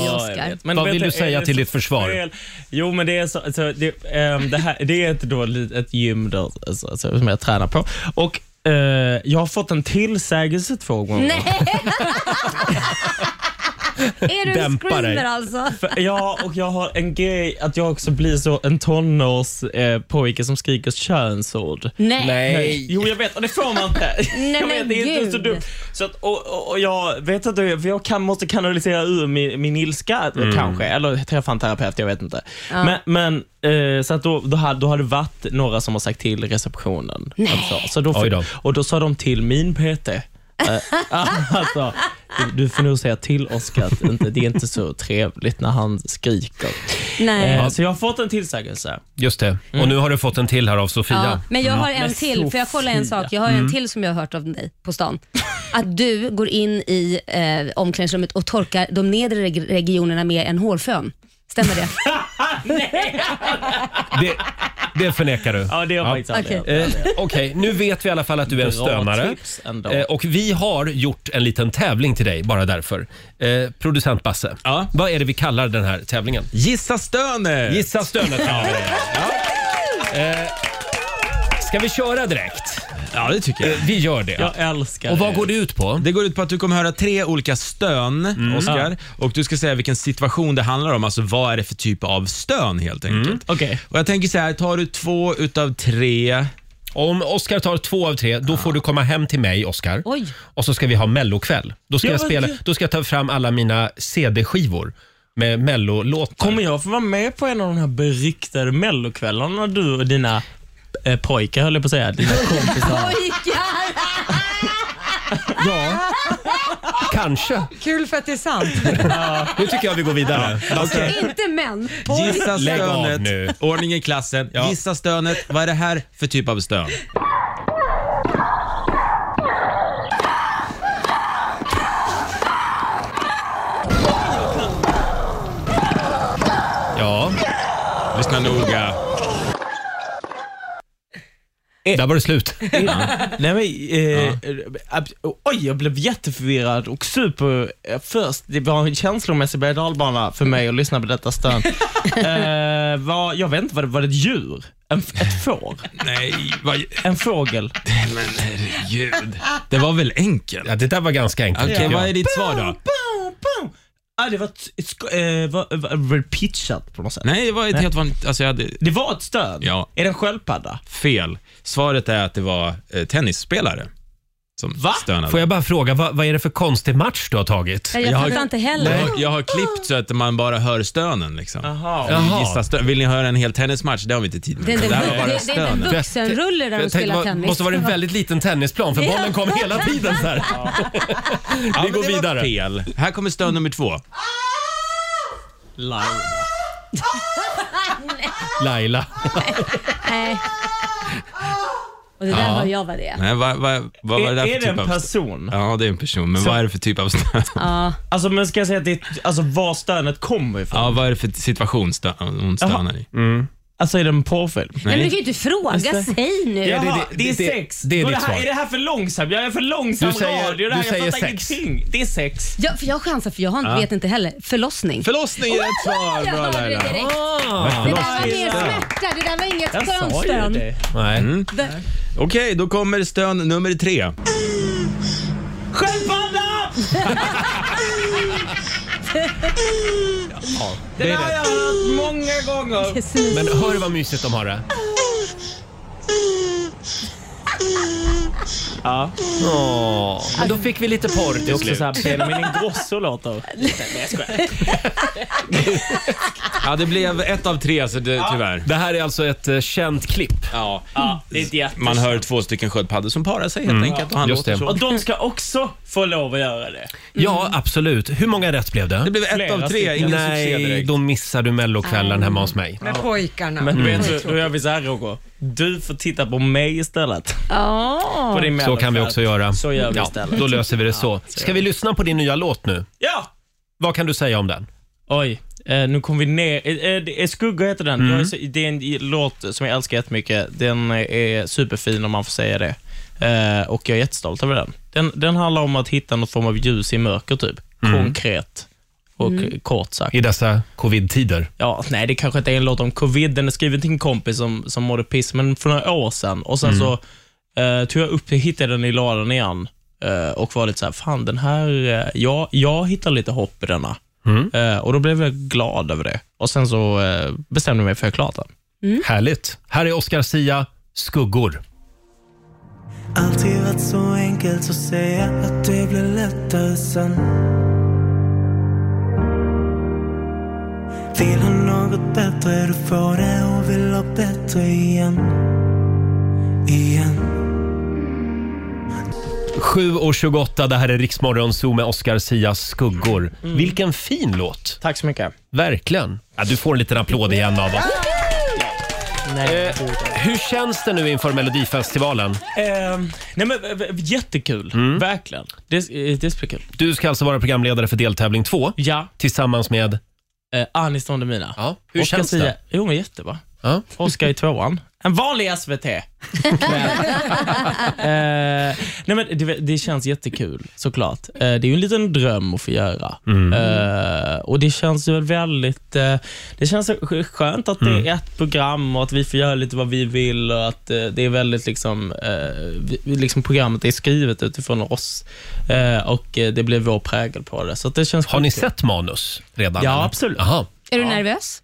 Vad vill du säga till ditt försvar? Jo, men det är så, alltså, det, ehm, det, här, det är ett, då, li- ett gym där, alltså, alltså, som jag tränar på. Och eh, jag har fått en tillsägelse två gånger. Nej! är du en Dämpa dig. screamer alltså? För, ja, och jag har en grej att jag också blir så en tonårs eh, pojke som skriker könsord. Nej. Nej. Jo, jag vet, och det får man inte. Nej, jag men vet, det är gud. inte så dumt. Så att, och, och, och jag vet att du, för jag kan, måste kanalisera ur min, min ilska Mm. kanske, eller träffa en terapeut, jag vet inte. Ja. Men, men eh, så att då, då, hade, då hade det varit några som har sagt till i receptionen. Nej. Alltså, så då, Oj då. och då sa de till min PT, eh, alltså, du, du får nog säga till Oskar att inte, det är inte så trevligt när han skriker. Nej. Eh, så jag har fått en tillsägelse. Just det. Och nu har du fått en till här av Sofia. Ja, men jag har en Men till, för jag kollar en Sofia. sak. Jag har en Mm. till som jag har hört av dig på stan. Att du går in i eh, omklädningsrummet och torkar de nedre reg- regionerna med en hårfön. Stämmer det? Det, det förnekar du? Ja, det har jag faktiskt aldrig Okej, gjort. Eh, Okej, nu vet vi i alla fall att du är en Bra stönare. tips ändå. Eh, Och vi har gjort en liten tävling till dig bara därför. Eh, producent Basse, vad är det vi kallar den här tävlingen? Gissa stönet! Eh. Gissa stönet kallar vi det. ja. Eh, Ska vi köra direkt? Eh, Ja, det tycker jag. Vi gör det. Jag älskar Och vad går det ut på? Det går ut på att du kommer höra tre olika stön, Mm. Oscar. Och du ska säga vilken situation det handlar om. Alltså vad är det för typ av stön helt enkelt. Mm. Och jag tänker så här, tar du två utav tre Om Oscar tar två av tre, då får du komma hem till mig, Oscar. Oj. Och så ska vi ha mellokväll. Då ska, Ja, jag men spela, gud. då ska jag ta fram alla mina CD-skivor med mellolåtar. Kommer jag få vara med på en av de här beryktade mellokvällarna när du och dina eh, pojkar, höll jag på att säga, dina kompisar? ja, kanske. Kul för att det är sant. Nu tycker jag vi går vidare. Inte män. Gissa Lägg av nu. stönet, ordning i klassen. Gissa stönet, vad är det här för typ av stön? Ja. Lyssna noga. Eh. Där var det slut. Nej men, eh, ab- oj jag blev jätteförvirrad och super, eh, först, det var en känslomässig berg och dalbana för mig att lyssna på detta stön. eh, var, jag vet inte, var det, var det ett djur? En, f- ett får? Nej, En fågel? Men herregud. Det var väl enkelt? Ja, det där var ganska enkelt. Okej, Ja. vad är ditt svar då? Boom, boom. Ah, det var, ett, ett, sko- eh, var, var, var det pitchat på något sätt? Nej, det var ett Nej. helt vanligt... Alltså jag hade... Det var ett stön? Ja. Är det en sköldpadda? Fel. Svaret är att det var eh, tennisspelare som stönade. Får jag bara fråga, vad, vad är det för konstig match du har tagit? Jag har- fattar inte heller. Jag, har- jag har klippt så att man bara hör stönen. Liksom. Jaha. Jaha. Jaha. Gissa stö- Vill ni höra en hel tennismatch? Det har vi inte tid med. Det är inte- det här var det- det är bara inte stönen. en vuxenrulle där de Jag tänkte, spelar vad- tennis. måste vara en väldigt liten tennisplan för Ja. bollen kom hela tiden så här. Ja, Vi men går det var vidare. Fel. Här kommer stön nummer två. Live. Laila. Nej. Och det där Ja. var jag vad det är. Nej, vad, vad, vad var det där Är- för är det typ en av stö- person? Ja, det är en person. Men vad är det för typ av stön? Ja. Alltså men ska jag säga att det är, alltså var stönet kommer ifrån? Ja, vad är det för situation stö- hon stönar i? Alltså är det en porrfilm? Men du kan ju inte fråga, säg nu. Jaha, det, det- det- är sex. det är Och ditt här, svar. Är det här för långsam? Jag är för långsam Du säger- radio. Det du här, säger jag fattar sex. ingenting. Det är sex. Ja, för jag chansar för jag har, vet inte heller. Förlossning. Förlossning är ett svar. Jag Bra hörde det Laila. direkt. Ah. Det där var mer smärta, det där var inget Jag sa ju skönstön. det. Nej. Okej, då kommer stön nummer tre. Sköldpadda! Det Det där är har jag rätt. hört många gånger. Men hör du vad mysigt de har det? Ja. Åh. Men då fick vi lite porr Det är till också slut. såhär Benjamin Ingrosso låter. Nej jag skojar. Ja, det blev ett av tre, så det, tyvärr. Det här är alltså ett eh, känt klipp. Ja. Ja, det är ett jätte- Man hör två stycken sköldpaddor som parar sig helt enkelt. Och han Just låter det. så. Och de ska också få lov att göra det. Ja, absolut. Hur många rätt blev Det det? blev ett Flera av tre, stycken. ingen succé Nej, direkt. då missar du Ah. mellokvällen hemma hos mig. Med pojkarna. Mm. Men du Det var Mm. vet, så- tråkigt. då gör vi såhär Roger. Du får titta på mig istället. Ja. På din Så kan vi mellofärd. också göra. Så gör vi Ja, istället. Då löser vi det så. så Ska gör vi lyssna på din nya låt nu? Ja! Vad kan du säga om den? Oj, eh, nu kom vi ner. Eh, eh, det är Skugga heter den. Mm. Jag är, så- det är en i- låt som jag älskar jättemycket. Den är superfin om man får säga det. Eh, och jag är jättestolt över den. den. Den handlar om att hitta någon form av ljus i mörker typ. Mm. konkret och Mm. kort sagt. I dessa covid-tider? Ja, nej, det kanske inte är en låt om covid. Den är skriven till en kompis som, som mådde piss, men för några år sedan. Och sen Mm. så eh, tog jag upp, hittade den i ladan igen eh, och var lite så här, fan den här, eh, jag, jag hittar lite hopp i denna. Mm. Eh, och då blev jag glad över det. Och sen så eh, bestämde jag mig för att klara den. Härligt. Här är Oscar Sia, Skuggor. Alltid varit så enkelt att säga att det blir lättare sen Vill ha något bättre, du får det och vill ha bättre igen Igen 7.28, det här är Riksmorgon Zoo med Oscar Sias skuggor. Mm. Vilken fin låt! Tack så mycket. Verkligen. Ja, du får en liten applåd igen av oss. Nej, Hur känns det nu inför Melodifestivalen? Eh, nej men, v- v- jättekul, verkligen. Det, eh, det ska bli kul. Du ska alltså vara programledare för deltävling två. Ja. Tillsammans med? Eh, Anis Don Demina. Ja. Hur Oscar känns det? Sia- Jo, men jättebra. Ja. Oscar i tvåan. En vanlig SVT. Men, eh, nej men det, det känns jättekul såklart. Eh, det är ju en liten dröm att få göra. Mm. Eh, och Det känns ju väl väldigt eh, Det känns sk- skönt att Mm. det är ett program och att vi får göra lite vad vi vill och att eh, det är väldigt liksom, eh, vi, vi- liksom programmet är skrivet utifrån oss eh, och eh, det blir vår prägel på det. Så att det känns Har ni skitkul. sett manus redan? Ja, eller? absolut. Aha. Är du nervös?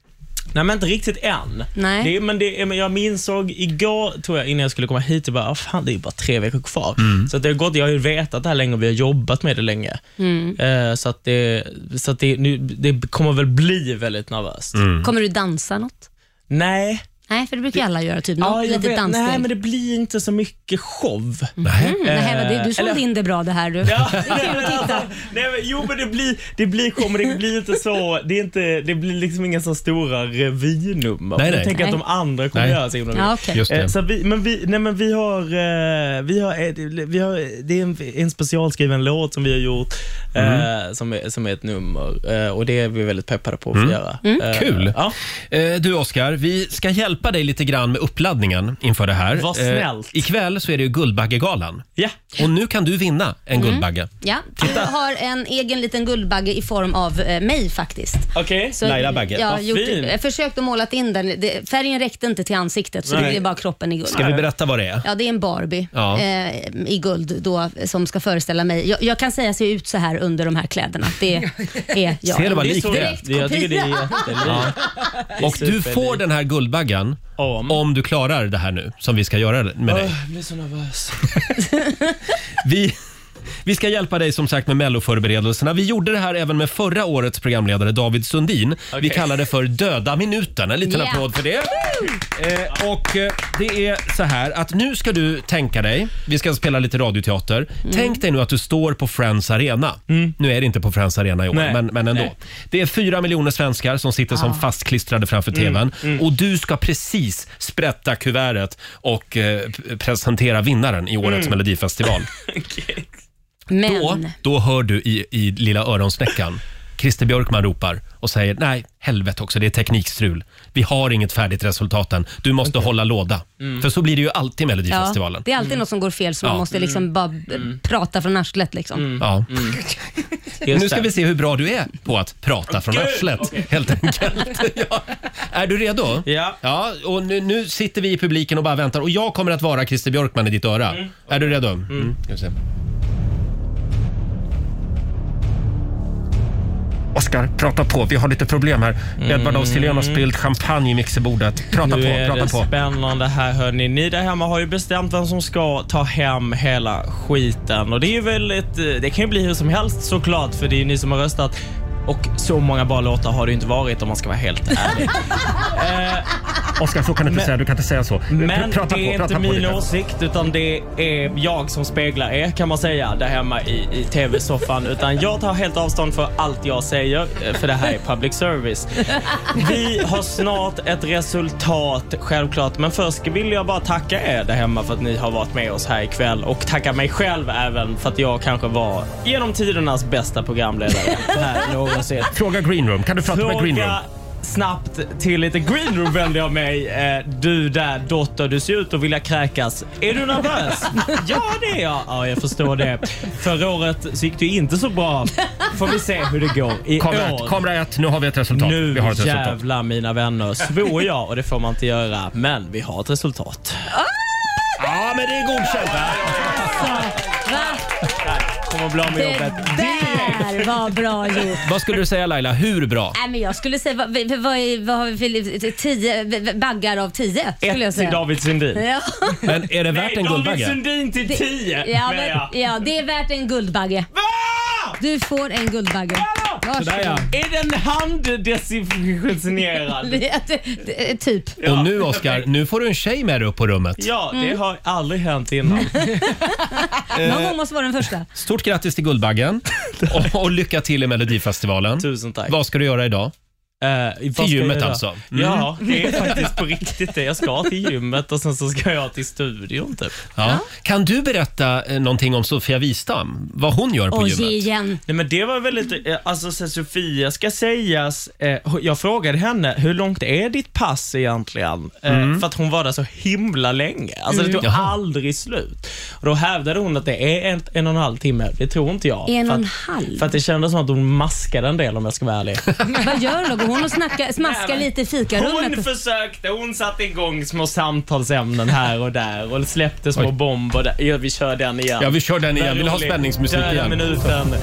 Nej, men inte riktigt än. Nej. Det, men det, men jag minnsåg igår, tror jag, innan jag skulle komma hit, jag bara, "Ah, fan, det är ju bara tre veckor kvar. Mm. Så att det har gått, jag har ju vetat det här länge och vi har jobbat med det länge. Mm. Eh, så att, det, så att det, nu, det kommer väl bli väldigt nervöst. Mm. Kommer du dansa något? Nej. Nej, för det brukar ju alla göra. Typ Ja, något jag litet vet. danssteg. Nej, men det blir inte så mycket show. Nej. Mm, Nej, men det, du Eh, sålde eller- in det bra det här du. Ja. Det är kul att titta. Alltså, Nej, men, jo, men det blir, det blir show, men det blir inte så, det, är inte, det blir liksom inga så stora revynummer. Nej, nej. Jag tänker att de Nej. andra kommer Nej. göra sig himla Ja, mycket. okej. Just det. Eh, Så vi, men vi, nej, men vi har, eh, vi har, eh, det- vi har, det är en, en specialskriven låt som vi har gjort, eh, som, är, som är ett nummer eh, och det är vi väldigt peppade på att Mm. få göra. Eh, Kul! Ja. Eh, Du Oscar, vi ska hjälpa dig lite grann med uppladdningen inför det här. Vad Eh, snällt. Ikväll så är det ju Guldbaggegalan. Ja. Och nu kan du vinna en Mm. Guldbagge. Ja, du har en egen liten guldbagge i form av eh, mig faktiskt. Okej, Så- Ja, gjort, jag försökte måla in den. Det, färgen räckte inte till ansiktet så det Nej. blev bara kroppen i guld. Ska vi berätta vad det är? Ja, det är en Barbie Ja. eh, i guld då, som ska föreställa mig. Jag, jag kan säga ser ut så här under de här kläderna. Det är jag. Ser du vad Det är likt så- det är? Direkt kopia. Det är Och du superlikt. får den här Guldbaggen om. du klarar det här nu som vi ska göra med dig. Åh, jag blir så nervös. Vi, vi ska hjälpa dig som sagt med melloförberedelserna. Vi gjorde det här även med förra årets programledare David Sundin. Vi kallar det för Döda minuten. En liten Yeah. applåd för det. Eh, och eh, det är så här att nu ska du tänka dig, vi ska spela lite radioteater. Mm. Tänk dig nu att du står på Friends Arena. Nu är det inte på Friends Arena i år, Nej. men, men ändå. Nej. Det är fyra miljoner svenskar som sitter Ah. som fastklistrade framför Mm. TVn Mm. och du ska precis sprätta kuvertet och eh, p- presentera vinnaren i årets Mm. Melodifestival. Men, Då, då hör du i, i lilla öronsnäckan Christer Björkman ropar och säger nej, helvete också, det är teknikstrul. Vi har inget färdigt resultat än. Du måste hålla låda. För så blir det ju alltid i Melodifestivalen. Ja, det är Mm. alltid något som går fel så Ja. man måste liksom bara b- prata från arslet. Liksom. Mm. Ja. Mm. Nu ska det. vi se hur bra du är på att prata från Gud! arslet, helt enkelt. ja. Är du redo? Ja. ja och nu, nu sitter vi i publiken och bara väntar och jag kommer att vara Christer Björkman i ditt öra. Är du redo? Mm. Ska vi se. Oskar, prata på. Vi har lite problem här. Edvard af Sillén har spillt champagne i mixerbordet. Prata Mm. nu på, är prata det på. spännande här hörni. Ni där hemma har ju bestämt vem som ska ta hem hela skiten. Och det är ju väl ett, eh, det kan ju bli hur som helst såklart för det är ju ni som har röstat. Och så många bra låtar har det ju inte varit om man ska vara helt ärlig. Oskar, så kan du inte Men- säga. Du kan inte säga så. Men Pr- prata det är på, prata inte på. min lite. åsikt utan det är jag som speglar er kan man säga där hemma i, i tv-soffan. Utan jag tar helt avstånd för allt jag säger eh, för det här är public service. Vi har snart ett resultat, självklart. Men först vill jag bara tacka er där hemma för att ni har varit med oss här ikväll och tacka mig själv även för att jag kanske var genom tidernas bästa programledare här någonsin. Fråga Greenroom. Kan du prata med Greenroom? snabbt till lite green room vände jag mig. Eh, Du där dotter, du ser ut att vilja kräkas. Är du nervös? ja, det är jag. Ja, jag förstår det. Förra året så gick det ju inte så bra. Får vi se hur det går i Kamera år. ett, kamera ett, nu har vi ett resultat. Nu vi har ett resultat. jävlar mina vänner svor jag och det får man inte göra. Men vi har ett resultat. Ja, men det är godkänt. Kommer bli av med Det jobbet. där var bra gjort. Vad skulle du säga Laila, hur bra? Nej, men jag skulle säga, vad, vad, vad, är- vad har vi för tio, baggar av tio? Skulle jag Ett till säga. David Sundin. Ja. Men är det värt en David Guldbagge? Sundin till 10 Ja, menar jag. men, ja, det är värt en Guldbagge. Du får en Guldbagge. Varsågod. Är den handdesinfektionerad? Det- det- Typ. Och nu Oscar, nu får du en tjej med dig upp på rummet. Ja, det Mm. har aldrig hänt innan. Eh. Någon gång måste vara den första. Stort grattis till Guldbaggen och, och lycka till i Melodifestivalen. Tusen tack. Eh, Vad ska du göra idag? Vad till ska jag gymmet göra? alltså? Mm. Ja, det är faktiskt på riktigt det. Jag ska till gymmet och sen så ska jag till studion typ. Ja. Kan du berätta eh, någonting om Sofia Wistam? Vad hon gör på gymmet? igen. Nej, men det var väldigt, eh, alltså så Sofia ska sägas, eh, jag frågade henne, hur långt är ditt pass egentligen? Eh, Mm. För att hon var där så himla länge. Alltså det Mm. tog Jaha. aldrig slut. Och då hävdade hon att det är en, en och en halv timme. Det tror inte jag. En och för en att- halv? För att det kändes som att hon maskade en del om jag ska vara ärlig. Vad gör hon då? Går hon och snackar, smaskar lite i fikarummet? Hon försökte, hon satte igång små samtalsämnen här och där och släppte små bomber. Där. Ja, vi kör den igen. Ja, vi kör den igen. Vad Vill du ha roligt. spänningsmusik Döda igen? minuten.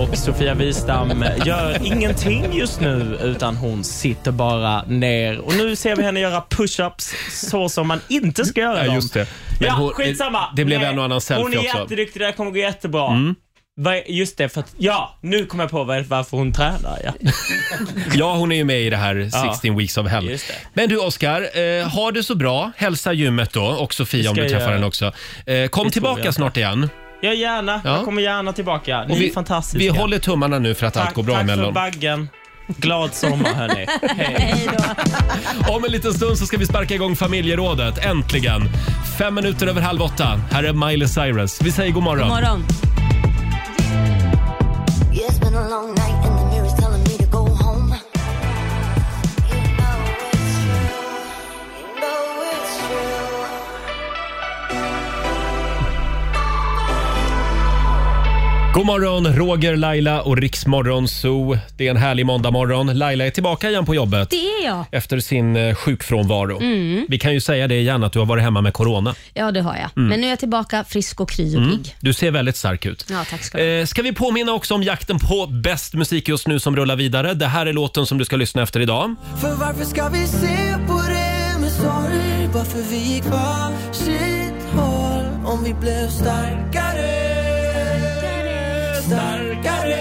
Och Sofia Wistam gör ingenting just nu utan hon sitter bara ner. Och nu ser vi henne göra push-ups så som man inte ska göra Ja, dem. just det. Men Ja, hon- skitsamma. det blev Nej, en och annan Hon selfie är också. jätteduktig, det här kommer gå jättebra. Mm. Vad är- Just det, för att, ja, nu kommer jag på var- varför hon tränar. Ja. Ja, hon är ju med i det här Ja. 16 weeks of hell. Men du Oscar, eh, ha det så bra. Hälsa gymmet då och Det Sofia om du ska jag träffar göra. henne också. Eh, kom tillbaka jag. snart igen. Ja, gärna. Ja. Jag kommer gärna tillbaka. Ni Och är fantastiska. Vi håller tummarna nu för att allt går bra tack emellan. för baggen. Glad sommar hörni. Om en liten stund så ska vi sparka igång familjerådet. Äntligen! Fem minuter över halv åtta. Här är Miley Cyrus. Vi säger god morgon. God morgon. God morgon, Roger, Laila och Riksmorgon Zoo. Det är en härlig måndagmorgon. Laila är tillbaka igen på jobbet Det är jag. efter sin eh, sjukfrånvaro. Mm. Vi kan ju säga det igen att du har varit hemma med corona. Ja, det har jag. Mm. Men nu är jag tillbaka frisk och kry och Mm. pigg. Du ser väldigt stark ut. Ja, tack ska du ha. Eh, Ska vi påminna också om jakten på bäst musik just nu som rullar vidare. Det här är låten som du ska lyssna efter idag. För varför ska vi se på det med sorg bara för vi gick var sitt håll om vi blev starkare Starkare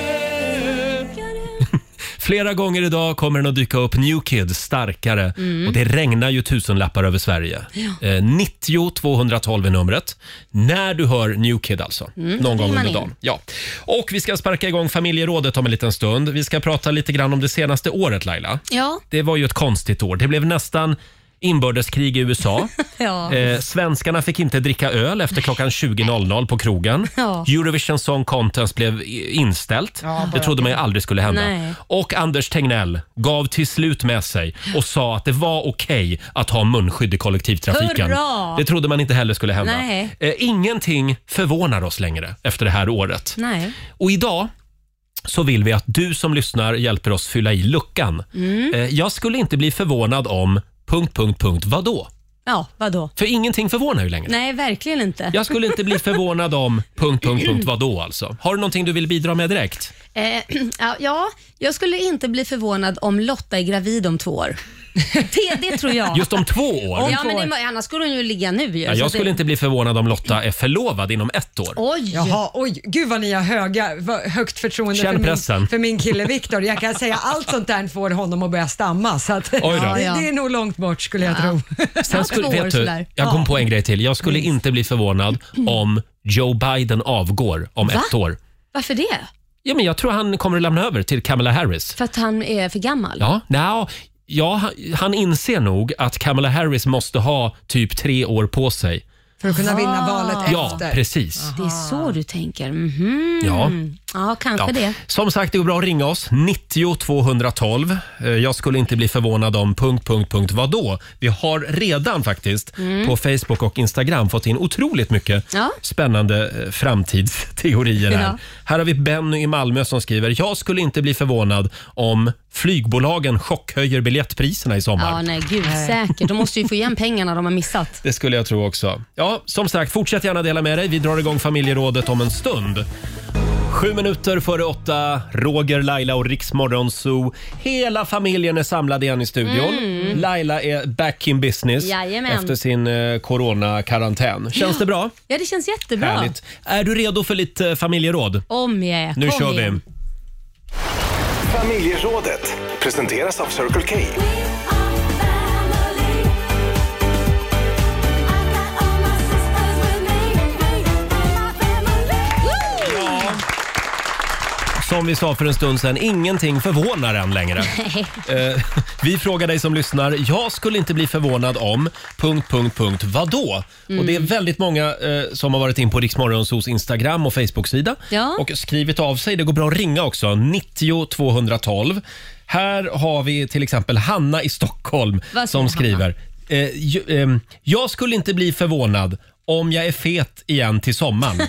Flera gånger idag kommer den att dyka upp New Kids starkare Mm. och det regnar ju tusenlappar över Sverige. Ja. Eh, 90 212 är numret. När du hör New Kid alltså. Mm, Någon gång ringer man under in. dagen. Ja. Och vi ska sparka igång familjerådet om en liten stund. Vi ska prata lite grann om det senaste året Laila. Ja. Det var ju ett konstigt år. Det blev nästan inbördeskrig i USA. Ja. Eh, svenskarna fick inte dricka öl efter klockan 20.00 på krogen. Ja. Eurovision Song Contest blev i- inställt. Ja, det trodde man ju aldrig skulle hända. Nej. Och Anders Tegnell gav till slut med sig och sa att det var okej att ha munskydd i kollektivtrafiken. Hurra! Det trodde man inte heller skulle hända. Nej. Eh, ingenting förvånar oss längre efter det här året. Nej. Och idag så vill vi att du som lyssnar hjälper oss fylla i luckan. Mm. Eh, Jag skulle inte bli förvånad om... Punkt, punkt, punkt. Vadå? Ja, vadå? För ingenting förvånar ju längre. Nej, verkligen inte. Jag skulle inte bli förvånad om... Punkt, punkt, punkt. Vadå alltså? Har du någonting du vill bidra med direkt? Eh, ja, ja, jag skulle inte bli förvånad om Lotta är gravid om två år. Det, det tror jag. Just om två år? Ja, men det, är- annars skulle hon ju ligga nu. ju. Ja, Så jag att skulle det, inte bli förvånad om Lotta är förlovad inom ett år. Oj! Jaha, oj. Gud vad ni har höga, vad högt förtroende Känn för pressen. min, för min kille Viktor. Jag kan säga allt sånt där får honom att börja stamma. Så att, då. Det, det är nog långt bort skulle jag tro. Sen skulle, vet du, jag kom på en grej till. Jag skulle inte bli förvånad om Joe Biden avgår om Va? ett år. Varför det? Ja, men jag tror han kommer att lämna över till Kamala Harris. För att han är för gammal? Ja, nja, ja, han- han inser nog att Kamala Harris måste ha typ tre år på sig För att kunna Ah. vinna valet Ja, efter. precis. Det är så du tänker? Mhm. Ja. Ja, kanske Ja. det. Som sagt, det går bra att ringa oss. 90 212. Eh, Jag skulle inte bli förvånad om... Punkt, punkt, punkt. Vadå? Vi har redan faktiskt Mm. på Facebook och Instagram fått in otroligt mycket Ja. spännande eh, framtidsteorier. Här. Ja. här har vi Benny i Malmö som skriver. Jag skulle inte bli förvånad om flygbolagen chockhöjer biljettpriserna i sommar. Ja, nej, gud, säkert. De måste ju få igen pengarna de har missat. Det skulle jag tro också. Ja, som sagt, fortsätt gärna dela med dig. Vi drar igång familjerådet om en stund. Sju minuter före åtta, Roger, Laila och Riksmorgon Zoo. Hela familjen är samlad igen i studion. Mm. Laila är back in business Jajamän. efter sin eh, coronakarantän. Känns det bra? Ja, det känns jättebra. Härligt. Är du redo för lite eh, familjeråd? Om jag är. Nu Kom kör vi. igen. Familjerådet presenteras av Circle K. Som vi sa för en stund sedan, ingenting förvånar en längre. Nej. Eh, vi frågar dig som lyssnar. Jag skulle inte bli förvånad om... Punkt, punkt, punkt. Vadå? Och Mm. det är väldigt många eh, som har varit in på Riksmorgonsos Instagram och Facebook-sida Ja. och skrivit av sig. Det går bra att ringa också. 90 212. Här har vi till exempel Hanna i Stockholm Vad som säger Hanna? skriver. Eh, ju, ehm, jag skulle inte bli förvånad om jag är fet igen till sommaren.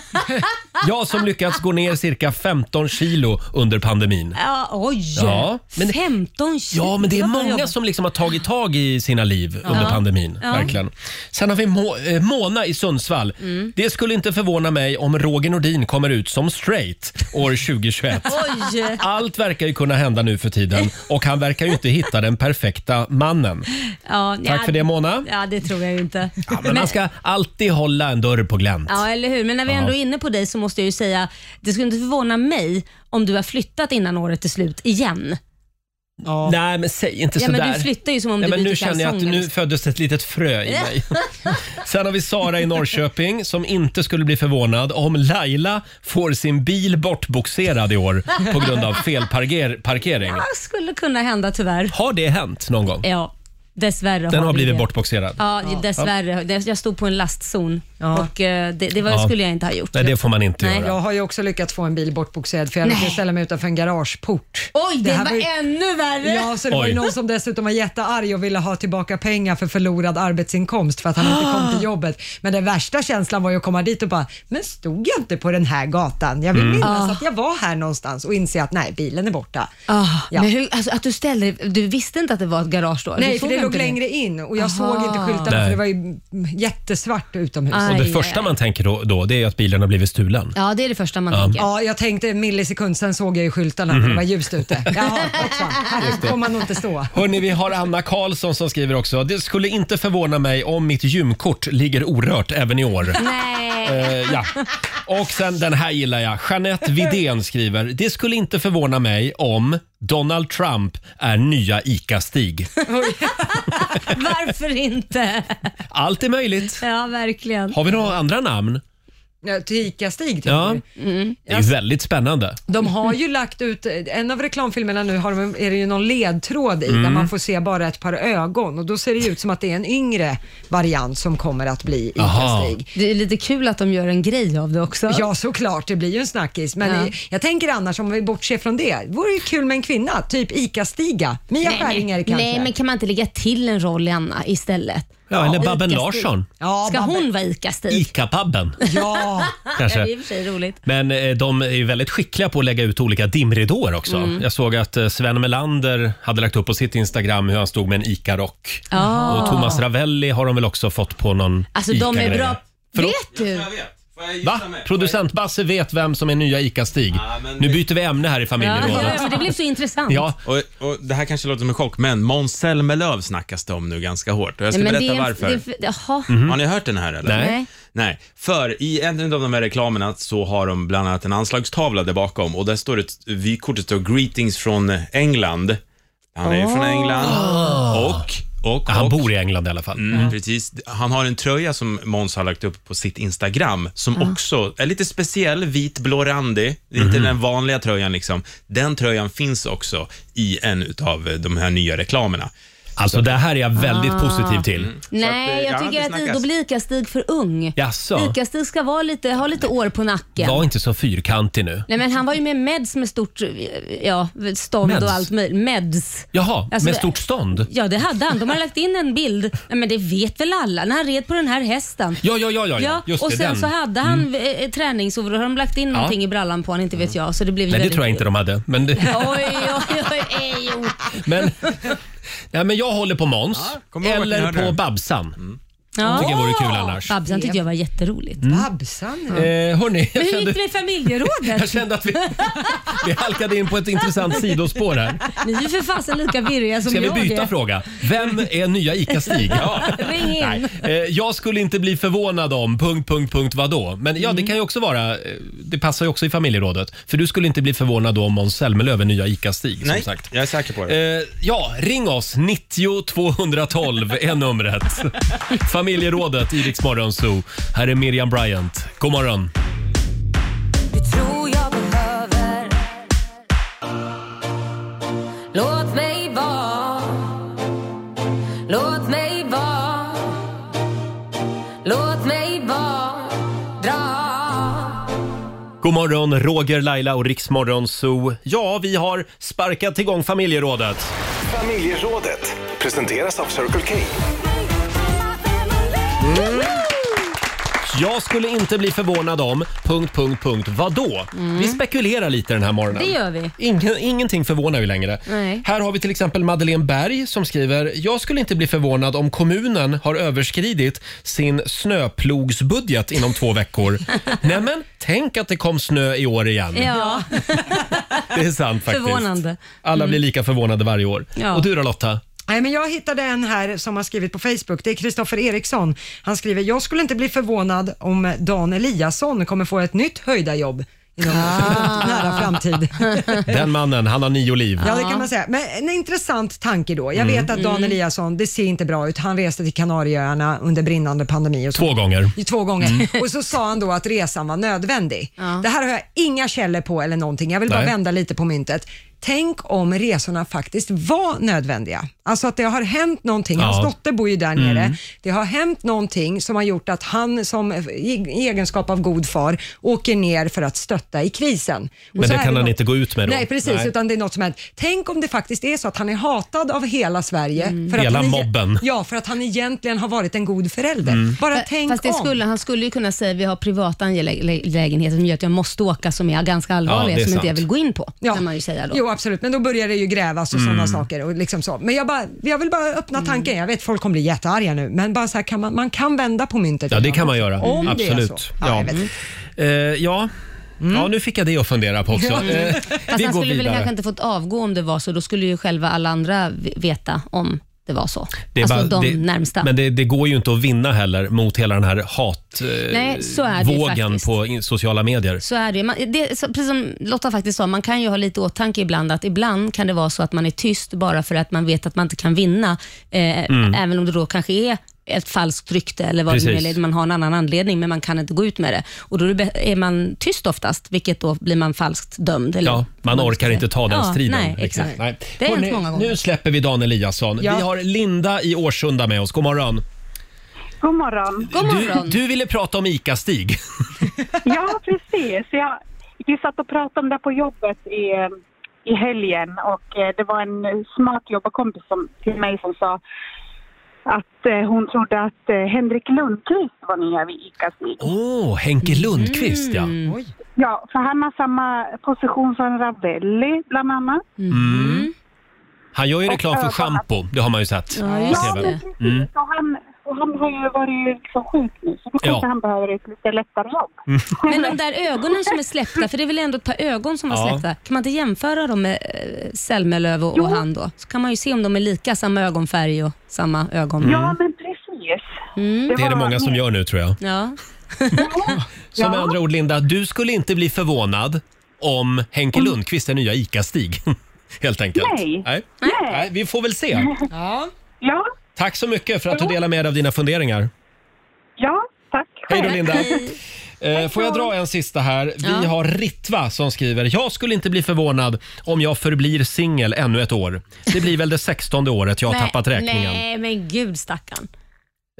jag som lyckats gå ner cirka 15 kilo under pandemin. Ja, oj! Ja, men- 15 kilo. Ja, men det är Vad många jobb- som liksom har tagit tag i sina liv Ja. under pandemin. Ja. Verkligen. Sen har vi Mo- eh, Mona i Sundsvall. Mm. Det skulle inte förvåna mig om Roger Nordin kommer ut som straight år 2021. Oj! Allt verkar ju kunna hända nu för tiden och han verkar ju inte hitta den perfekta mannen. Ja, Tack för det, Mona. Ja, det tror jag ju inte. Ja, men man ska alltid hålla en dörr på glänt. Ja, eller hur. Men när vi Ja. ändå är inne på dig så måste jag ju säga, det skulle inte förvåna mig om du har flyttat innan året är slut igen. Nej, men säg inte Ja, sådär. men du flyttar ju som om Nej, du men byter Nu känner jag att kalsonger. liksom. nu föddes ett litet frö i mig. Sen har vi Sara i Norrköping som inte skulle bli förvånad om Laila får sin bil bortboxerad i år på grund av felparkering. Ja, skulle kunna hända tyvärr. Har det hänt någon gång? Ja, dessvärre Den har det blivit det. bortboxerad? Ja, dessvärre. Det- Jag stod på en lastzon och eh, det, det var, Ja. skulle jag inte ha gjort. Nej, det får man inte Nej. göra. Jag har ju också lyckats få en bil bortboxerad för jag lyckades ställa mig utanför en garageport. Oj, det, här var, ju- ännu värre! Ja, så det var ju Oj. någon som dessutom var jättearg och ville ha tillbaka pengar för förlorad arbetsinkomst för att han inte kom till Ah. jobbet. Men den värsta känslan var ju att komma dit och bara, men stod jag inte på den här gatan? Jag vill Mm. minnas Ah. att jag var här någonstans och inse att nej, bilen är borta. Ah, Ja. men hur, alltså, att du ställde Du visste inte att det var ett garage då? Nej, du för såg det låg inte längre in och jag Aha. Ah. såg inte skyltarna Nej. för det var ju jättesvart utomhus. Och det första man tänker då, då det är att bilen har blivit stulen. Ja, det är det första man Ja. tänker. Ja, jag tänkte en millisekund, sen såg jag ju skyltarna för Mhm. det var ljust ute. Jaha, hoppsan. Just det. Här får man nog inte stå. Hörni, vi har Anna Karlsson som skriver också. Det skulle inte förvåna mig om mitt gymkort ligger orört även i år. Nej. Eh, ja. Och sen den här gillar jag. Jeanette Vidén skriver. Det skulle inte förvåna mig om Donald Trump är nya ICA-Stig. Varför inte? Allt är möjligt. Ja, verkligen. Har vi några andra namn? Ja, till ICA-Stig tycker Ja. du? Det är ju väldigt spännande. De har ju lagt ut, en av reklamfilmerna nu har de, är det ju någon ledtråd i där Mm. man får se bara ett par ögon och då ser det ut som att det är en yngre variant som kommer att bli ICA-Stig. Det är lite kul att de gör en grej av det också. Ja, såklart. Det blir ju en snackis. Men Ja. i- jag tänker annars, om vi bortser från det, vore ju kul med en kvinna, typ ICA-Stiga. Mia Nej, Skäringer men- kanske? Nej, men kan man inte lägga till en roll i Anna istället? Ja, eller Babben Ica-Stig. Larsson. Ja, Ska hon vara ICA-Stig? ICA-Babben. Ja. Kanske. Ja, det är i och för sig roligt. Men eh, de är ju väldigt skickliga på att lägga ut olika dimridåer också. Mm. Jag såg att eh, Sven Melander hade lagt upp på sitt Instagram hur han stod med en ICA-rock. Ah. Och Thomas Ravelli har de väl också fått på någon Alltså, de är ICA-grej. bra. Förlåt? Vet du? Va? Producent Basse vet vem som är nya ICA-Stig. Nu byter vi ämne här i Ja, familjerådet. ja, men det blev så intressant. Och, och det här kanske låter som en chock, men Måns Zelmerlöw snackas det om nu ganska hårt. Och jag ska men berätta det är en- varför. det är för- Jaha. Mhm. Har ni hört den här eller? Nej. Nej. Nej. För i en av de här reklamerna så har de bland annat en anslagstavla där bakom och där står det, vykortet står “Greetings från England”. Han är ju från Ah. England. Och och, Han och, bor i England i alla fall. Mm, Precis. Han har en tröja som Måns har lagt upp på sitt Instagram som Ja. också är lite speciell, vit, blå randig. Det är inte den vanliga tröjan liksom. Den tröjan finns också i en av de här nya reklamerna. Alltså det här är jag väldigt Ah. positiv till. Mm. Nej, jag tycker att IDOB-ICA-Stig för ung. Jaså? ICA-Stig ska vara lite, ha lite år på nacken. Var inte så fyrkantig nu. Nej, men han var ju med Meds med stort ja, stånd Meds? och allt möjligt. Meds. Jaha, Alltså, med det- stort stånd? Ja, det hade han. De hade lagt in en bild. Nej, men det vet väl alla? När han red på den här hästen. Ja, ja, ja, ja, ja. Just och det, sen den. så hade han mm. eh, träningsoverall. Har de lagt in Ja. Mm. någonting i brallan på honom? Inte vet jag. Så det blev ju Nej, det väldigt... tror jag inte de hade. Men, det, Oj, oj, oj, ej, jo. men, nej, men jag håller på Måns. ihåg att ni eller hörde Mm. på det. Babsan. Tycker det vore kul annars. Babsan tyckte jag var jätteroligt. Mm. Babsan? ja. Eh, hörni, jag Men hur kände- gick det med familjerådet? Jag kände att vi... Vi halkade in på ett intressant sidospår här. Ni är ju för fasen lika virriga som Ska vi jag byta är. fråga? Vem är nya ICA-Stig? Ring in. Nej. Eh, Jag skulle inte bli förvånad om... Punkt, punkt, punkt vadå? Men ja, det Mm. kan ju också vara... eh, Det passar ju också i familjerådet. För du skulle inte bli förvånad då om Måns Zelmerlöw är nya ICA-Stig. Nej, som sagt. jag är säker på det. Eh, ja, ring oss. 90 212 är numret. Familjerådet i Rix Morgon Zoo. Här är Miriam Bryant. God morgon. tror jag behöver Låt mig vara Låt mig vara Låt mig vara Dra God morgon, Roger, Laila och Riksmorgon Zoo. Ja, vi har sparkat igång familjerådet. Familjerådet presenteras av Circle K. Jag skulle inte bli förvånad om... Punkt, punkt, punkt. Vadå? Mm. Vi spekulerar lite den här morgonen. Det gör vi. Ingen, ingenting förvånar ju längre. Nej. Här har vi till exempel Madeleine Berg som skriver “Jag skulle inte bli förvånad om kommunen har överskridit sin snöplogsbudget inom två veckor. Nämen, tänk att det kom snö i år igen. Ja, Det är sant faktiskt. förvånande. Mm. Alla blir lika förvånade varje år. Ja. Och du då Lotta? Nej, men jag hittade en här som har skrivit på Facebook. Det är Kristoffer Eriksson. Han skriver, jag skulle inte bli förvånad om Dan Eliasson kommer få ett nytt höjda jobb inom Ah. nära framtid. Den mannen, han har nio liv. Ja, det kan man säga. Men en intressant tanke då. Jag Mm. vet att Dan Mm. Eliasson, det ser inte bra ut. Han reste till Kanarieöarna under brinnande pandemi. Och så. Två gånger. Två gånger. Mm. Och så sa han då att resan var nödvändig. Det här har jag inga källor på eller någonting. Jag vill bara Nej. vända lite på myntet. Tänk om resorna faktiskt var nödvändiga. Alltså att det har hänt någonting. Hans Ja. dotter bor ju där Mm. nere. Det har hänt någonting som har gjort att han som i egenskap av god far åker ner för att stötta i krisen. Och Men så det är kan han något- inte gå ut med då. Nej, precis. Nej. Utan det är något som hänt. Tänk om det faktiskt är så att han är hatad av hela Sverige. För Hela att han, mobben. Ja, för att han egentligen har varit en god förälder. Mm. Bara Fa- tänk Fast det om. skulle, han skulle ju kunna säga vi har privata angelägenheter som gör att jag måste åka som är ganska allvarliga det är som sant. inte jag vill gå in på. Ja. Kan man ju säga då. Jo, absolut. Men då börjar det ju grävas och Mm. sådana saker. Och liksom så. Men jag, bara, jag vill bara Mm. öppna tanken. Jag vet folk kommer bli jättearga nu, men bara så här, kan man, man kan vända på myntet. Ja, det ibland kan man också. göra. Om det är Absolut. så. ja. Eh, ja. ja, nu fick jag det att fundera på också. Mm. Ja. Eh, Fast vi han går skulle väl kanske vidare. inte fått avgå om det var så. Då skulle ju själva alla andra v- veta om det var så. Det är alltså bara- de det- närmsta. Men det, det går ju inte att vinna heller mot hela den här hatvågen eh, Nej, så är det ju vågen faktiskt. på in- sociala medier. Så är det. ju. Man, det så, precis som Lotta faktiskt sa, man kan ju ha lite åtanke ibland att ibland kan det vara så att man är tyst bara för att man vet att man inte kan vinna. Eh, Mm. Även om det då kanske är ett falskt rykte eller vad det nu Precis. är. Man har en annan anledning men man kan inte gå ut med det. Och då är det bä- är man tyst oftast, vilket då blir man falskt dömd. Eller Ja, man vad ska orkar säga. inte ta den Mm. ja, striden. Nej, riktigt. exakt. Nej. Det har hänt Hörrni, många gånger. Nu släpper vi Dan Eliasson. Ja. Vi har Linda i Årsunda med oss. God morgon. God morgon. Du, du ville prata om ICA-Stig. Ja, precis. Jag, vi satt och pratade om det på jobbet i, i helgen och eh, det var en smart jobbarkompis som, till mig som sa att eh, hon trodde att eh, Henrik Lundqvist var nya vid ICA-Stig. Åh, oh, Henke Mm. Lundqvist ja. Ja, för han har samma position som Ravelli bland annat. Mm. Han gör ju Och reklam för ögon. schampo, det har man ju sett Ja, på just TV. det. Mm. Och han, och han har ju varit liksom sjuk nu så då kanske Ja. Mm. han behöver ett lite lättare jobb. Men de där ögonen som är släppta, för det är väl ändå ett par ögon som var Ja. släppta. Kan man inte jämföra dem med eh, Zelmerlöw och, och han då? Så kan man ju se om de är lika, samma ögonfärg och samma ögon. Mm. Ja, men precis. Mm. Det är det många som gör nu tror jag. Ja. Så med andra ord Linda, du skulle inte bli förvånad om Henke Lundqvist är nya ICA-Stig. Helt enkelt. Nej. Nej. Nej, Vi får väl se. Ja. Ja. Tack så mycket för att du delade med dig av dina funderingar. Ja, tack. Hej då Linda. Eh, får jag dra en sista här? Vi Ja. har Ritva som skriver. Jag skulle inte bli förvånad om jag förblir singel ännu ett år. Det blir väl det sextonde året jag har Nej, tappat räkningen. Nej, men gud stackarn.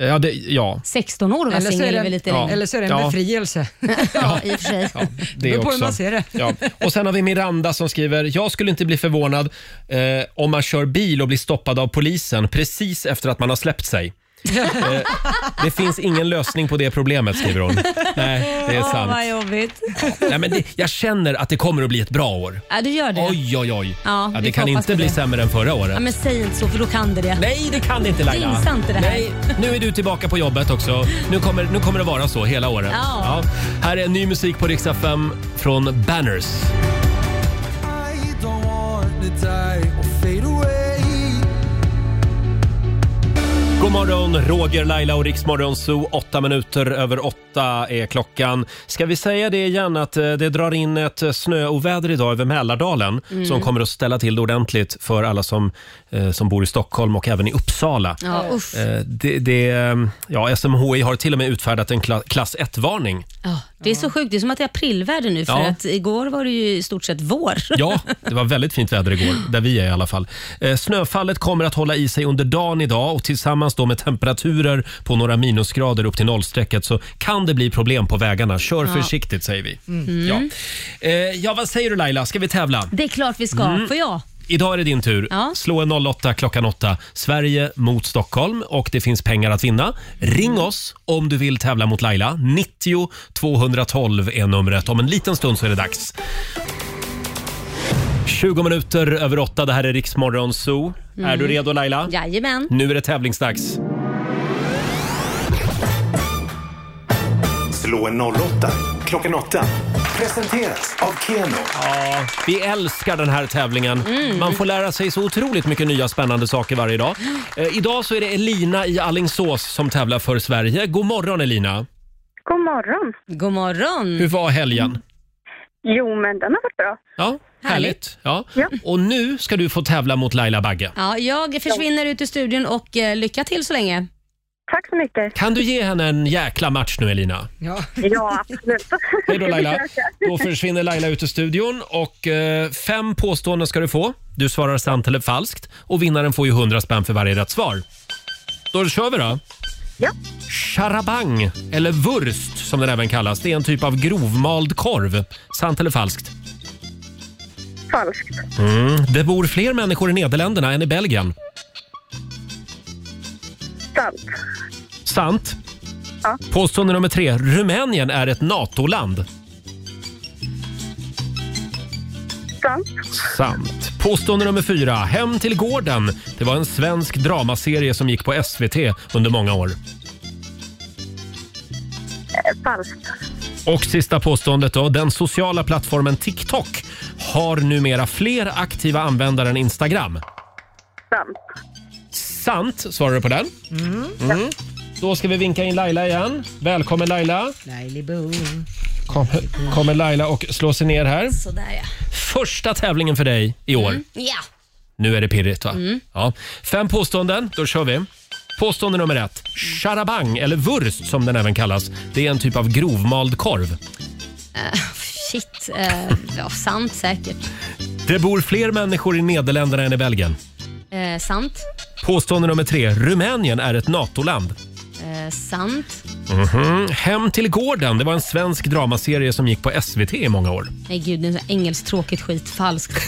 Eh, Ja, det, ja. 16 år och vara Eller så är singel det- är väl lite Ja. länge. Eller så är det en Ja. befrielse. ja, i och för sig. Det beror på hur också. man ser det. Ja. Och sen har vi Miranda som skriver, jag skulle inte bli förvånad eh, om man kör bil och blir stoppad av polisen precis efter att man har släppt sig. Eh, det finns ingen lösning på det problemet, skriver hon. Nej, det är Åh, sant. vad jobbigt. Nej, men det, jag känner att det kommer att bli ett bra år. Ja, du gör det. Oj, oj, oj. Ja, Ja, vi det får kan hoppas inte på bli det. sämre än förra året. Ja, men säg inte så för då kan det det. Nej, det kan inte Laila. Det är inte det här. Nej. Nu är du tillbaka på jobbet också. Nu kommer, nu kommer det vara så hela året. Ja. Här är ny musik på Rix FM från Banners. don't want to die or fade away. God morgon, Roger, Laila och Riksmorgon Zoo. Åtta minuter över åtta är klockan. Ska vi säga det igen att eh, det drar in ett eh, snöoväder idag över Mälardalen Mm. som kommer att ställa till det ordentligt för alla som, eh, som bor i Stockholm och även i Uppsala. Ja, uff. Eh, Det, det, eh, ja, SMHI har till och med utfärdat en kla- klass 1-varning. Ja, det är så sjukt. Det är som att det är aprilväder nu för Ja. att igår var det ju i stort sett vår. Ja, det var väldigt fint väder igår, där vi är i alla fall. Eh, Snöfallet kommer att hålla i sig under dagen idag och tillsammans då med temperaturer på några minusgrader upp till nollstrecket så kan det bli problem på vägarna. Kör Ja. försiktigt säger vi. Mm. Ja. Eh, ja, vad säger du Laila? Ska vi tävla? Det är klart vi ska. Mm. Får jag? Idag är det din tur. Ja. Slå en 08 klockan 8. Sverige mot Stockholm och det finns pengar att vinna. Ring oss om du vill tävla mot Laila. 90 212 är numret. Om en liten stund så är det dags. 20 minuter över 8. Det här är Riksmorgon Zoo. Mm. Är du redo Laila? Jajamän. Nu är det tävlingsdags. Slå en 08 klockan 8. Presenteras av Keno. Ja, vi älskar den här tävlingen. Mm. Man får lära sig så otroligt mycket nya spännande saker varje dag. Eh, idag så är det Elina i Allingsås som tävlar för Sverige. God morgon Elina! God morgon. God morgon. Hur var helgen? Jo, men den har varit bra. Ja, härligt. Ja. Och nu ska du få tävla mot Laila Bagge. Ja, jag försvinner ut ur studion och eh, lycka till så länge. Tack så mycket. Kan du ge henne en jäkla match nu Elina? Ja, ja absolut. Hej då Laila. Då försvinner Laila ut ur studion och eh, fem påståenden ska du få. Du svarar sant eller falskt och vinnaren får ju 100 spänn för varje rätt svar. Då kör vi då. Ja. Charabang, eller wurst som den även kallas, det är en typ av grovmald korv. Sant eller falskt? Falskt. Mm. Det bor fler människor i Nederländerna än i Belgien. Sant. Sant. Påstående nummer tre. Rumänien är ett NATO-land. Sant. Sant. Påstående nummer fyra. Hem till gården. Det var en svensk dramaserie som gick på SVT under många år. Eh, Falskt. Och sista påståendet då. Den sociala plattformen TikTok har numera fler aktiva användare än Instagram. Sant. Sant, svarar du på den. Mm. Då ska vi vinka in Laila igen. Välkommen Laila. Lailiboo. Kom, kommer Laila och slår sig ner här. Sådär ja. Första tävlingen för dig i år. Ja. Nu är det pirrigt va? Mm. Ja. Fem påståenden, då kör vi. Påstående nummer ett. Charabang, eller wurst som den även kallas, det är en typ av grovmald korv. Eh, shit. Eh, ja, sant säkert. Det bor fler människor i Nederländerna än i Belgien. Eh, sant. Påstående nummer tre. Rumänien är ett NATO-land. Eh, sant. Mhm. Hem till gården, det var en svensk dramaserie som gick på SVT i många år. Nej gud, det är så engelskt tråkigt skit. Falskt.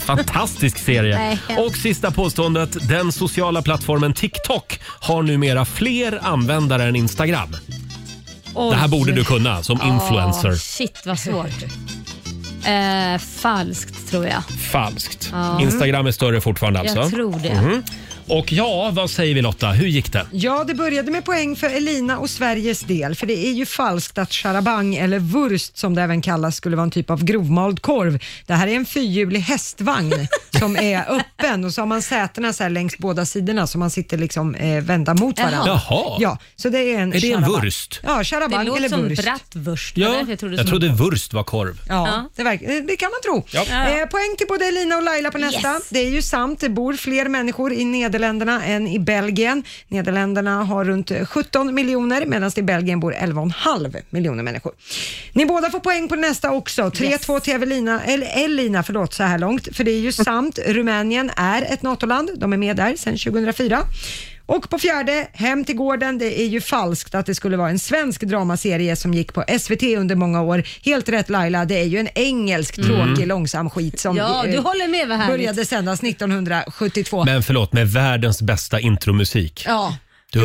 Fantastisk serie. Nej. Och sista påståendet. Den sociala plattformen TikTok har numera fler användare än Instagram. Det här Oj. borde du kunna som influencer. Ja, shit vad svårt. Eh, falskt tror jag. Falskt. Ja. Instagram är större fortfarande Jag alltså? tror det. Mhm. Och ja, vad säger vi Lotta? Hur gick det? Ja, det började med poäng för Elina och Sveriges del, för det är ju falskt att charabang, eller wurst som det även kallas, skulle vara en typ av grovmald korv. Det här är en fyrhjulig hästvagn som är öppen och så har man sätena så här längs båda sidorna så man sitter liksom eh, vända mot Jaha. varandra. Jaha. Ja, så det är en Är det en charabang. wurst? Ja, charabang det låter eller som wurst. bratwurst. Det var Ja, därför jag trodde jag som- trodde wurst var korv. Ja, Det, verk- eh, det kan man tro. Ja. Eh, poäng till både Elina och Laila på nästa. Det är ju sant, det bor fler människor i Nederländerna än i Belgien. Nederländerna har runt 17 miljoner medan det i Belgien bor 11,5 miljoner människor. Ni båda får poäng på nästa också. 3-2 till Evelina, eller Elina förlåt, så här långt. För det är ju sant, Rumänien är ett NATO-land. De är med där sedan 2004. Och på fjärde, Hem till gården. Det är ju falskt att det skulle vara en svensk dramaserie som gick på SVT under många år. Helt rätt Laila, det är ju en engelsk tråkig Mm. långsam skit som Ja, eh, du håller med, vad härligt. började sändas 1972. Men förlåt, med världens bästa intromusik. Ja. Du,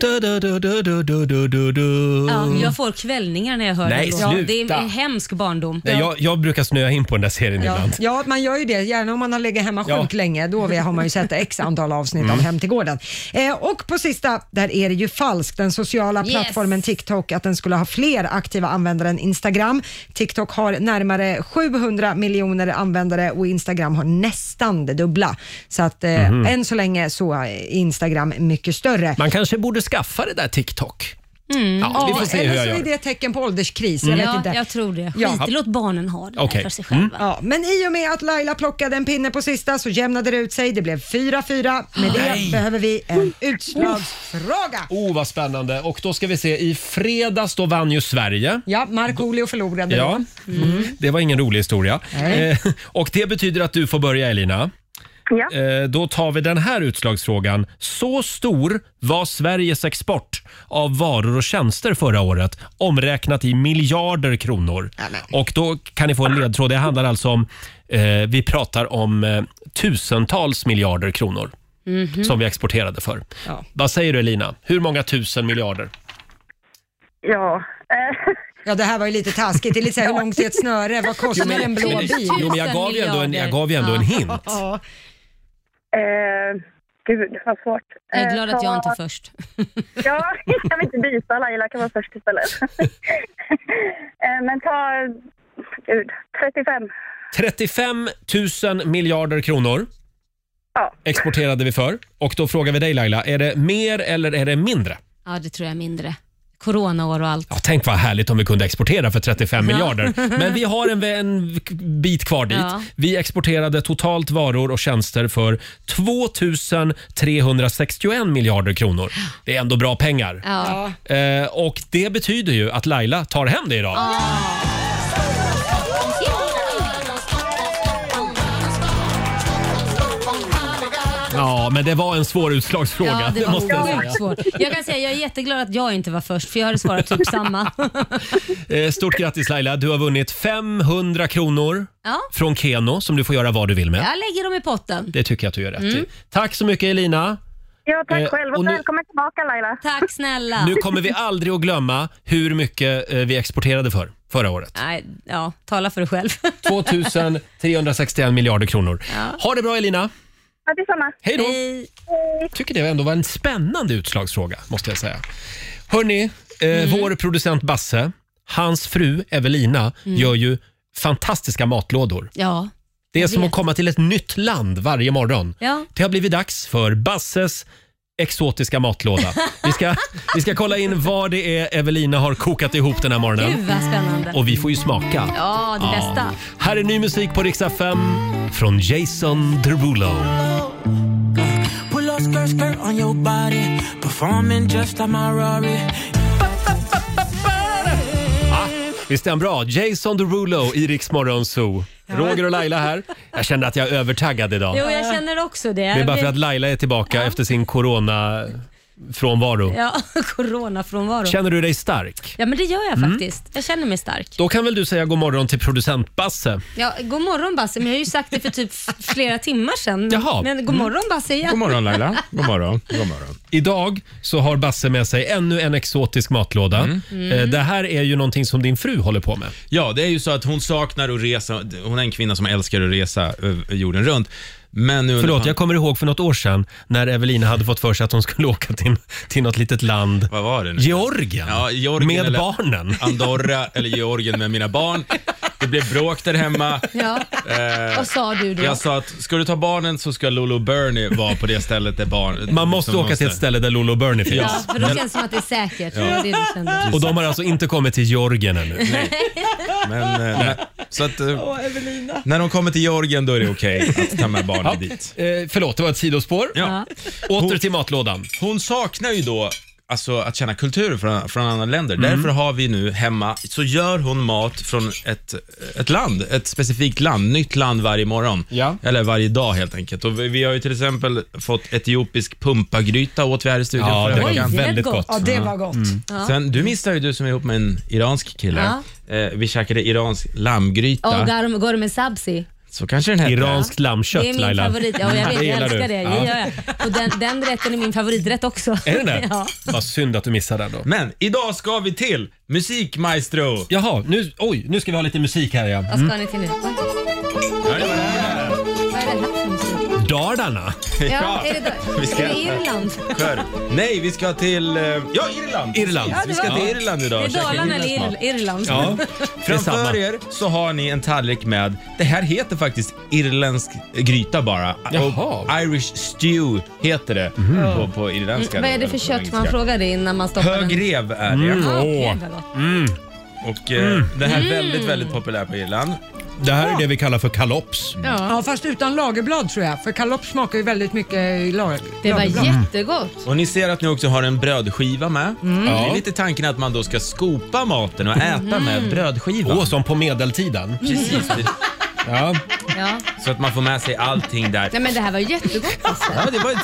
du, du, du, du, du, du, du, du, du. Ja, jag får kvällningar när jag hör Nej, den låten. sluta. Det är en hemsk barndom. Nej, jag, jag brukar snöa in på den där serien Ja, ibland. ja, man gör ju det. Gärna om man har legat hemma Ja. sjuk länge. Då vi- har man ju sett x antal avsnitt av Mm. Hem till gården. Eh, och på sista, där är det ju falskt. Den sociala Yes. plattformen TikTok, att den skulle ha fler aktiva användare än Instagram. TikTok har närmare 700 miljoner användare och Instagram har nästan det dubbla. Så att eh, Mhm. än så länge så är Instagram mycket större. Man kanske borde skaffa det där TikTok. Mm. Ja, vi får se eller hur jag så gör. är alltså, det ett tecken på ålderskris. Mm. Jag vet Ja, inte. jag tror det. Ja. Skit, låt barnen ha det där Okej. för sig Mm. själva. Ja, men i och med att Laila plockade en pinne på sista så jämnade det ut sig. Det blev 4-4. Med det Nej. behöver vi en utslags... Fråga! Oh, vad spännande. Och då ska vi se, i fredags då vann ju Sverige. Ja, Markoolio förlorade. Ja, det var ingen rolig historia. Nej. Eh, och det betyder att du får börja Elina. Ja. Eh, då tar vi den här utslagsfrågan. Så stor var Sveriges export av varor och tjänster förra året omräknat i miljarder kronor. Och då kan ni få en ledtråd. Det handlar alltså om, eh, vi pratar om eh, tusentals miljarder kronor Mhm. som vi exporterade för. Ja. Vad säger du Elina? Hur många tusen miljarder? Ja. Eh, Ja, det här var ju lite taskigt. Det är lite så här, hur långt är ett snöre? Vad kostar en blå bil? Jo, men jag gav ju ändå en, jag gav ju ändå en hint. Ja. Eh, gud, vad svårt. Jag är Eh, glad att så- jag inte är först. Ja, jag vill inte byta. Laila kan vara först istället. Eh, Men ta, gud, 35. 35 000 miljarder kronor exporterade vi för. Och då frågar vi dig Laila, är det mer eller är det mindre? Ja, det tror jag är mindre. Coronaår och allt. Ja, tänk vad härligt om vi kunde exportera för 35 Ja. miljarder. Men vi har en, en bit kvar dit. Ja. Vi exporterade totalt varor och tjänster för 2 361 miljarder kronor. Det är ändå bra pengar. Ja. Eh, och det betyder ju att Laila tar hem det idag. Ja, men det var en svår utslagsfråga. Ja, det var måste jag sjukt säga. svårt. Jag kan säga jag är jätteglad att jag inte var först, för jag hade svarat typ samma. Eh, Stort grattis Laila, du har vunnit 500 kronor Ja. från Keno som du får göra vad du vill med. Jag lägger dem i potten. Det tycker jag att du gör rätt i. Mm. Tack så mycket Elina. Ja, tack Eh, själv och, och nu- välkommen tillbaka Laila. Tack snälla. Nu kommer vi aldrig att glömma hur mycket eh, vi exporterade för förra året. Nej, ja, tala för dig själv. 2361 miljarder kronor. Ha det bra Elina. Ja, detsamma. Hej då. tycker det ändå var en spännande utslagsfråga måste jag säga. Hörni, eh, Mm. vår producent Basse, hans fru Evelina Mm. gör ju fantastiska matlådor. Ja. Det är jag som vet. att komma till ett nytt land varje morgon. Ja. Det har blivit dags för Basses exotiska matlåda. Vi ska, vi ska kolla in vad det är Evelina har kokat ihop den här Gud morgonen. vad spännande. Och vi får ju smaka. Ja, det bästa. Här är ny musik på Riksa 5 från Jason Derulo. Pull up skirt, skirt on your body. Performing just like my Rari. Visst är han bra? Jason Derulo i Rix Morgon Zoo. Roger och Laila här. Jag kände att jag är övertaggad idag. Jo, jag känner också det. Det är bara för att Laila är tillbaka efter sin corona-frånvaro. Ja, coronafrånvaro. Känner du dig stark? Ja, men det gör jag Mm. faktiskt. Jag känner mig stark. Då kan väl du säga god morgon till producent Basse? Ja, god morgon Basse, men jag har ju sagt det för typ f- flera timmar sedan. Jaha. Mm. Men god morgon Basse igen. God morgon. God morgon. Idag så har Basse med sig ännu en exotisk matlåda. Mm. Eh, Det här är ju någonting som din fru håller på med. Ja, det är ju så att hon saknar att resa. Hon är en kvinna som älskar att resa över jorden runt. Men nu Förlåt, jag kommer ihåg för något år sedan när Evelina hade fått för sig att hon skulle åka till, till något litet land. Vad var det nu? Georgien. Ja, Georgien Med eller barnen. Andorra eller Georgien med mina barn. Det blev bråk där hemma. Ja, Eh, vad sa du då? Jag sa att ska du ta barnen så ska Lolo Bernie vara på det stället där barn... Man måste åka till ett ställe där Lolo Bernie finns. Ja, för då känns det som att det är säkert. Ja. Det var det du kände. Och de har alltså inte kommit till Georgien ännu. Men eh, när, Så att, eh, Åh, Evelina. när de kommer till Georgien då är det okej att ta med barnen dit. Eh, förlåt, det var ett sidospår. Ja. Åter till matlådan. Hon saknar ju då Alltså att känna kulturen från, från andra länder. Mm. Därför har vi nu hemma, så gör hon mat från ett, ett land, ett specifikt land, nytt land varje morgon. Eller varje dag helt enkelt. Och vi, vi har ju till exempel fått etiopisk pumpagryta åt vi här i studion Ja, förra det var veckan. Oj, det lät väldigt gott. gott. Ja, det var gott. Ja. Sen, du missar ju du som är ihop med en iransk kille. Eh, vi käkade iransk lammgryta. Och där går det med sabzi. Så kanske den heter. Iranskt det är min favorit. Ja, jag vet, jag älskar det. Ja. Ja, ja. Och den, den rätten är min favoriträtt också. Är den det? Ja. Vad synd att du missade den då. Men idag ska vi till musikmaestro. Jaha, nu, oj, nu ska vi ha lite musik här ja. Vad Mm. ska ni till nu? Vad vad är det här för musik? Dardarna. Ja, är det, då- Vi ska- är det Irland? Skör. Nej, vi ska till... eh, Ja, Irland! Irland. Ja, det vi ska var- till Irland idag. Det är och käka Dalarna eller irländsk Ir- mat. Irland. Ja. Det är Framför samma. er så har ni en tallrik med, det här heter faktiskt irländsk gryta bara. Och Irish stew heter det på, på irländska. Vad är det eller för på kött engelska. man frågar det innan man stoppar den? Högrev är det. Mm, Ah, okej, åh. vad gott. Och eh, Mm. det här är Mm. väldigt, väldigt populärt på Irland. Det här är det vi kallar för kalops. Ja. fast utan lagerblad tror jag. För kalops smakar ju väldigt mycket lag Det var Mm. lagerblad. jättegott. Och ni ser att ni också har en brödskiva med. Mm. Det Ja. är lite tanken att man då ska skopa maten och äta med Mhm. brödskivan. Åh, som på medeltiden. Precis. ja. Ja. Så att man får med sig allting där. Nej men det här var jättegott alltså. Ja, det var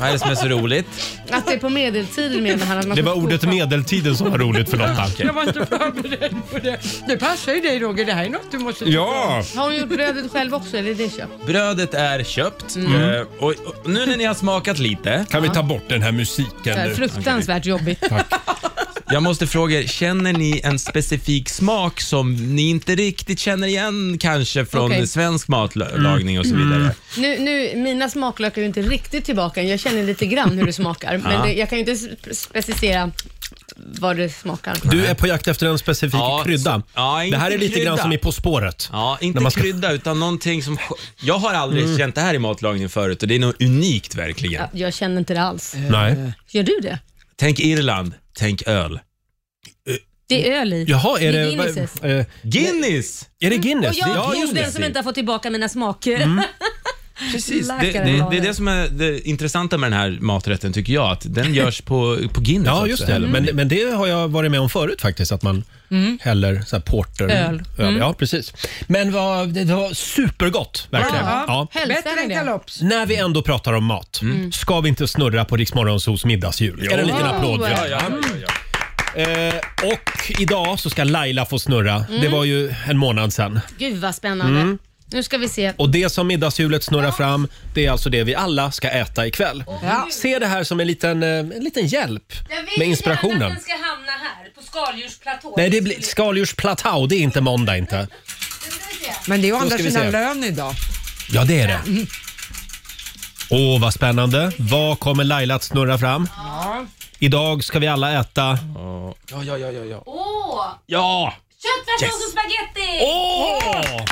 Vad är det som är så roligt? Att det är på medeltiden menar han att man Det får var ordet skopa. medeltiden som var roligt för Lotta. Jag var inte förberedd på det. Det passar ju dig Roger, det här är något du måste Ja. Har hon gjort brödet själv också eller är det köpt? Brödet är köpt Mm. Eh, och, och nu när ni har smakat lite. Kan vi ta bort den här musiken Det är fruktansvärt jobbigt. Jag måste fråga er, känner ni en specifik smak som ni inte riktigt känner igen kanske från Okej. svensk Mm. matlagning och så vidare? Nu, nu, mina smaklökar är ju inte riktigt tillbaka än. Jag känner lite grann hur det smakar. Men Ja. det, jag kan ju inte sp- specificera vad det smakar. Du är på jakt efter en specifik krydda. det här är lite grann som i På spåret. Ja, inte När man ska- krydda utan någonting som... Jag har aldrig Mm. känt det här i matlagning förut och det är något unikt verkligen. Ja, jag känner inte det alls. Nej. Gör du det? Tänk Irland, tänk öl. Det är öl i. Jaha, är det... Guinnesses. va- eh, Guinness! Är det Mm. Guinness? Och jag Ja, är just den det. som inte har fått tillbaka mina smaker. Precis. Det, det, det är det som är det intressanta med den här maträtten tycker jag, att den görs på, på Guinness Ja, också, just det. Mm. eller? Men, men det har jag varit med om förut faktiskt, att man Mm. häller så här porter. Öl. Mm. Ja, precis. Men vad, det var supergott, verkligen. Ja, Ja. Bättre än kalops. När vi ändå pratar om mat, Mm. ska vi inte snurra på Riksmorgonsos middagshjul? Är det en liten Jo. applåd? för det? Ja, ja, ja, Eh, och idag så ska Laila få snurra. Mm. Det var ju en månad sedan. Gud vad spännande. Mm. Nu ska vi se. Och det som middagshjulet snurrar fram, det är alltså det vi alla ska äta ikväll. Mm. Ja. Se det här som en liten, eh, en liten hjälp med inspirationen. ska hamna här på skaldjursplatån. Nej, det blir skaldjursplatå, det är inte måndag inte. Men det är ju å Då andra ska vi se. sidan lön idag. Ja, det är det. Åh, vad spännande. Vad kommer Laila att snurra fram? Ja. Idag ska vi alla äta... Ja, ja, ja, ja. ja. Åh! Ja! Köttfärssås Yes. och spagetti! Åh!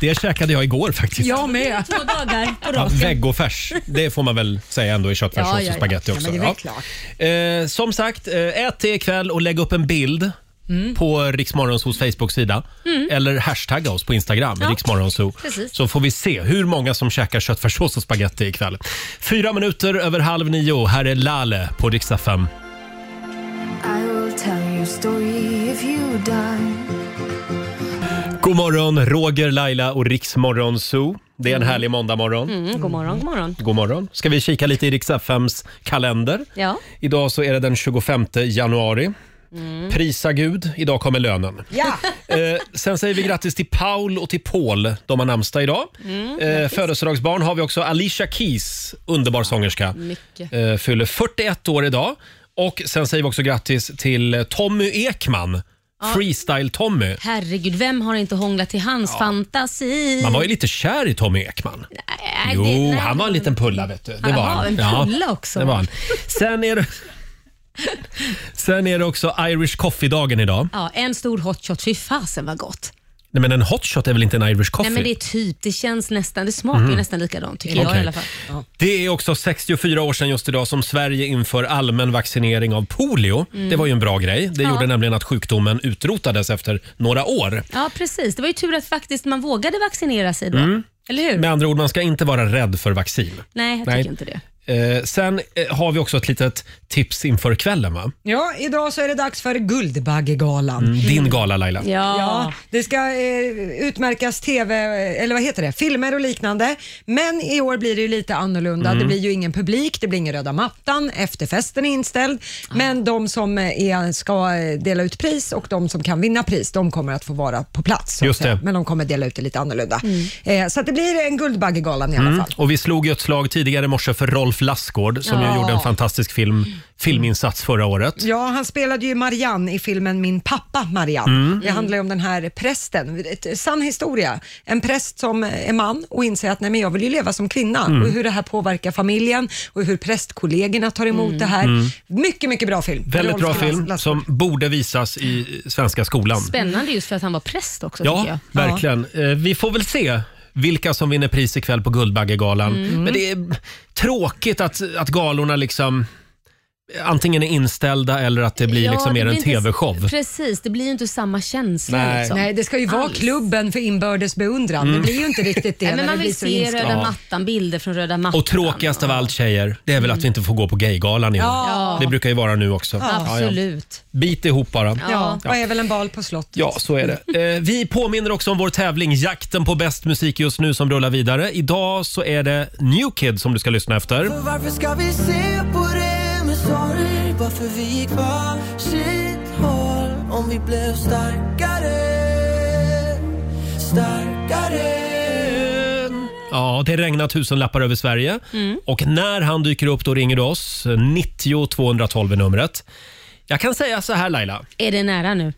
Det käkade jag igår faktiskt. Jag med. Två dagar på Ja, raken. Vegofärs, det får man väl säga ändå i köttfärssås Ja, ja, ja. och spagetti Ja, också. men det är väl klart. Eh, som sagt, eh, ät det ikväll och lägg upp en bild på Riksmorgonsos Facebook-sida. Mm. Eller hashtagga oss på Instagram, Ja, riksmorgonso. precis. Så får vi se hur många som käkar köttfärssås och spagetti ikväll. Fyra minuter över halv nio. Här är Lale på riksdag 5. I will tell you a story if you die. God morgon, Roger, Laila och Riksmorgonso. Det är en härlig måndagmorgon. Mm, god morgon, god morgon. God morgon. Ska vi kika lite i Rix FMs kalender? Ja. Idag så är det den 25 januari. Mm. Prisa Gud, idag kommer lönen. Ja. Eh, sen säger vi grattis till Paul och till Paul, de har namnsdag idag. Mm, eh, grattis. födelsedagsbarn har vi också Alicia Keys, underbar sångerska. Mycket. Eh, fyller 41 år idag. Och sen säger vi också grattis till Tommy Ekman, Ja. Freestyle-Tommy. Herregud, vem har inte hånglat till hans fantasi? Man var ju lite kär i Tommy Ekman. Nej, jo, det- nej. han var en liten pulla vet du. Det Jaha, var han. en pulla också. Det var han. Sen är det... Sen är det också Irish Coffee-dagen idag. Ja, en stor hot shot. Fy fasen vad gott. Nej, men en hot shot är väl inte en Irish coffee? Nej, men det är typ, det känns nästan, det smakar ju Mhm. nästan likadant tycker jag Okej. i alla fall. Det är också 64 år sedan just idag som Sverige inför allmän vaccinering av polio. Mm. Det var ju en bra grej. Det Ja. gjorde nämligen att sjukdomen utrotades efter några år. Ja, precis. Det var ju tur att faktiskt man vågade vaccinera sig då. Mm. Eller hur? Med andra ord, man ska inte vara rädd för vaccin. Nej, jag tycker inte det. Eh, sen eh, har vi också ett litet tips inför kvällen. Va? Ja, idag så är det dags för Guldbaggegalan. Mm. Din gala Laila. Ah. Ja, det ska eh, utmärkas tv, eller vad heter det, filmer och liknande. Men i år blir det ju lite annorlunda. Mm. Det blir ju ingen publik, det blir ingen röda mattan, efterfesten är inställd. Men de som eh, är, ska eh, dela ut pris och de som kan vinna pris, de kommer att få vara på plats. så att Just säga. det. Men de kommer dela ut det lite annorlunda. Eh, så att det blir en Guldbaggegalan i alla Mm. fall. Och vi slog ju ett slag tidigare i morse för Rolf Lassgård som ju Ja. gjorde en fantastisk film, filminsats förra året. Mm. Ja, han spelade ju Marianne i filmen Min pappa Marianne. Mm. Det handlar ju om den här prästen. Ett, sann historia. En präst som är man och inser att nej, men jag vill ju leva som kvinna Mm. och hur det här påverkar familjen och hur prästkollegorna tar emot det här. Mm. Mycket, mycket bra film. Väldigt Rolf bra Lass- film Lass- som borde visas i svenska skolan. Spännande just för att han var präst också tycker Ja, jag. verkligen. Eh, Vi får väl se vilka som vinner pris ikväll på Guldbaggegalan. Mm. Men det är tråkigt att, att galorna liksom antingen är inställda eller att det blir Ja, liksom det mer blir en inte- tv-show. Precis, det blir ju inte samma känsla. Nej. Liksom. Nej, det ska ju vara Alls. klubben för inbördes beundran. Mm. Det blir ju inte riktigt det Nej, men när det man blir vill så se inställt. röda Ja. mattan, bilder från röda mattan. Och tråkigast av allt tjejer, det är väl att vi inte får gå på gaygalan i år. Mm. Ja. Det brukar ju vara nu också. Absolut. Bit ihop bara. Ja, vad är väl en bal på slott? Ja, så är det. Eh, vi påminner också om vår tävling Jakten på bäst musik just nu som rullar vidare. Idag så är det New Kid som du ska lyssna efter. För varför ska vi se på det med sorg? Bara för vi gick var sitt håll Om vi blev starkare Starkare Ja, det regnar tusenlappar över Sverige. Mm. Och när han dyker upp då ringer du oss. 90 212 är numret. Jag kan säga så här Laila. Är det nära nu?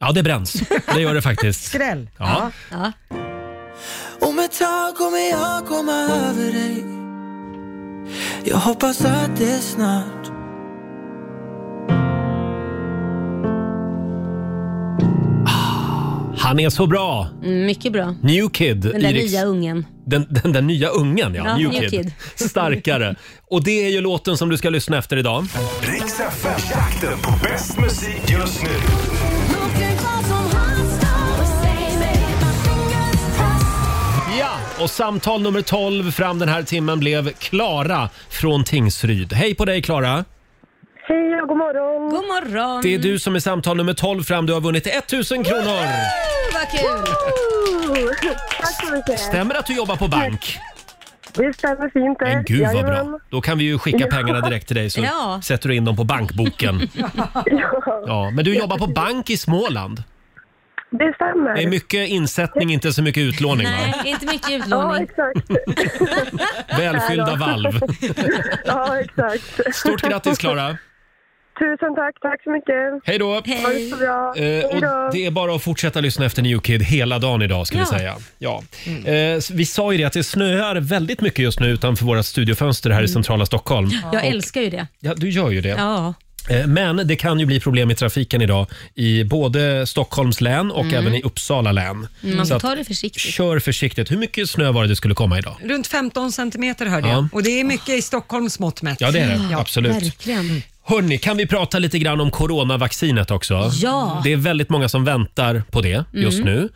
Ja, det bränns. Det gör det faktiskt. Skräll. Ja. Ja. Om ett tag kommer jag komma över dig Jag hoppas att det är snart Han är så bra! Mm, mycket bra. New Kid. Den där i Riks- nya ungen. Den, den där nya ungen, ja. Ja, new, New kid. Kid. Starkare. Och det är ju låten som du ska lyssna efter idag. Riks FM-jakten på bäst musik just nu. Ja! Och samtal nummer 12 fram den här timmen blev Klara från Tingsryd. Hej på dig Klara! Hej och god morgon. God morgon. Mm. Det är du som är samtal nummer 12 fram. Du har vunnit 1000 kronor! Oh, vad kul! Tack så mycket. Stämmer det att du jobbar på bank? Det stämmer fint det. Men gud vad bra. Jajamän. Då kan vi ju skicka Ja. pengarna direkt till dig så Ja. sätter du in dem på bankboken. Ja, Ja, men du jobbar på bank i Småland. det stämmer. Det är mycket insättning, inte så mycket utlåning va? Nej, inte mycket utlåning. Ja, exakt. Välfyllda Nej då. valv. Ja, exakt. Stort grattis Klara! Tusen tack, tack så mycket. Hej då! Ha det så bra. Eh, Hej då. och det är bara att fortsätta lyssna efter New Kid hela dagen idag ska vi Ja. säga. Ja. Mm. Eh, vi sa ju det att det snöar väldigt mycket just nu utanför våra studiofönster här i centrala Stockholm. Jag älskar ju det. Ja, du gör ju det. Mm. Ja. Eh, Men det kan ju bli problem i trafiken idag i både Stockholms län och Mm. även i Uppsala län. Så Man får att, ta det försiktigt. Kör försiktigt. Hur mycket snö var det det skulle komma idag? Runt 15 centimeter hörde Ja. jag. Och det är mycket i Stockholms mått mätt. Ja, det är det. Absolut. Mm. Verkligen. Hörni, kan vi prata lite grann om coronavaccinet också? Ja. Det är väldigt många som väntar på det just Mm. nu.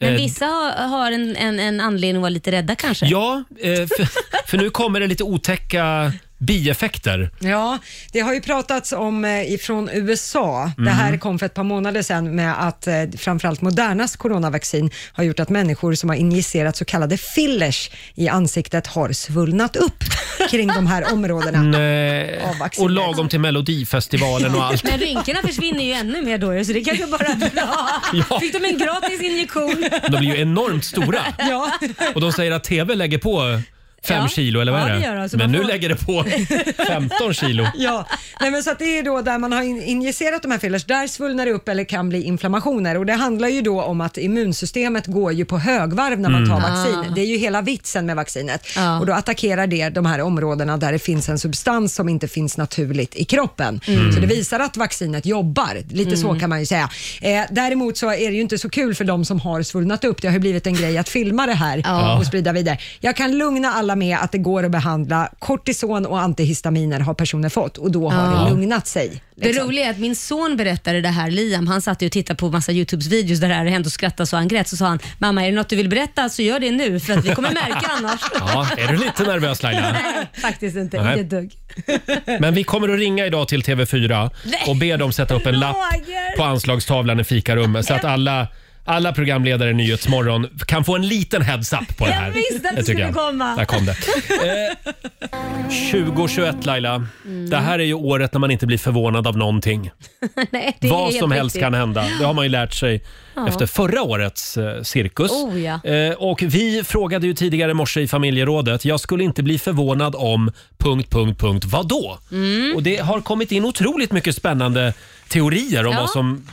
Men Eh, vissa har, har en, en, en anledning att vara lite rädda kanske. Ja, eh, för, för nu kommer det lite otäcka bieffekter. Ja, det har ju pratats om eh, ifrån USA. Det Mhm. här kom för ett par månader sedan med att eh, framförallt Modernas coronavaccin har gjort att människor som har injicerat så kallade fillers i ansiktet har svullnat upp kring de här områdena. Mm. Nej. Av Mm. vaccinet. Eh, Och lagom till Melodifestivalen och allt. Men rynkorna försvinner ju ännu mer då så det kanske bara är bra. Ja. Fick de en gratis injektion? De blir ju enormt stora. Ja. Och de säger att TV lägger på Fem Ja. kilo eller vad Ja, är det det? gör det. Så Men man nu får- lägger det på 15 kilo. Ja, Nej, men så att det är då där man har in- injicerat de här fillers, där svullnar det upp eller kan bli inflammationer och det handlar ju då om att immunsystemet går ju på högvarv när man Mm. tar vaccin. Ah. Det är ju hela vitsen med vaccinet Ja. och då attackerar det de här områdena där det finns en substans som inte finns naturligt i kroppen. Mm. Så det visar att vaccinet jobbar, lite så Mm. kan man ju säga. Eh, däremot så är det ju inte så kul för de som har svullnat upp. Det har ju blivit en grej att filma det här Ja. och sprida vidare. Jag kan lugna alla med att det går att behandla. Kortison och antihistaminer har personer fått och då har Ja. det lugnat sig. Liksom. Det roliga är att min son berättade det här, Liam, han satt ju och tittade på massa Youtubes-videos där det här hände och skrattade så han grät. Så sa han, mamma är det något du vill berätta så gör det nu för att vi kommer märka annars. Ja, är du lite nervös Laila? Nej, faktiskt inte. Nej. Inte ett dugg. Men vi kommer att ringa idag till TV4 Nej. och be dem sätta upp en lapp Roger. på anslagstavlan i fikarummet så att alla, alla programledare i Nyhetsmorgon kan få en liten heads-up på det här. Jag visste att det tycker skulle jag. komma. Där kom det. 2021 Laila, det här är ju året när man inte blir förvånad av någonting. Nej, det är Vad helt som helst riktigt. kan hända. Det har man ju lärt sig Ja. efter förra årets eh, cirkus. Oh, ja. Eh, och vi frågade ju tidigare i morse i familjerådet. Jag skulle inte bli förvånad om... Punkt, punkt, punkt. Vadå? Mm. Och det har kommit in otroligt mycket spännande teorier om Ja. vad som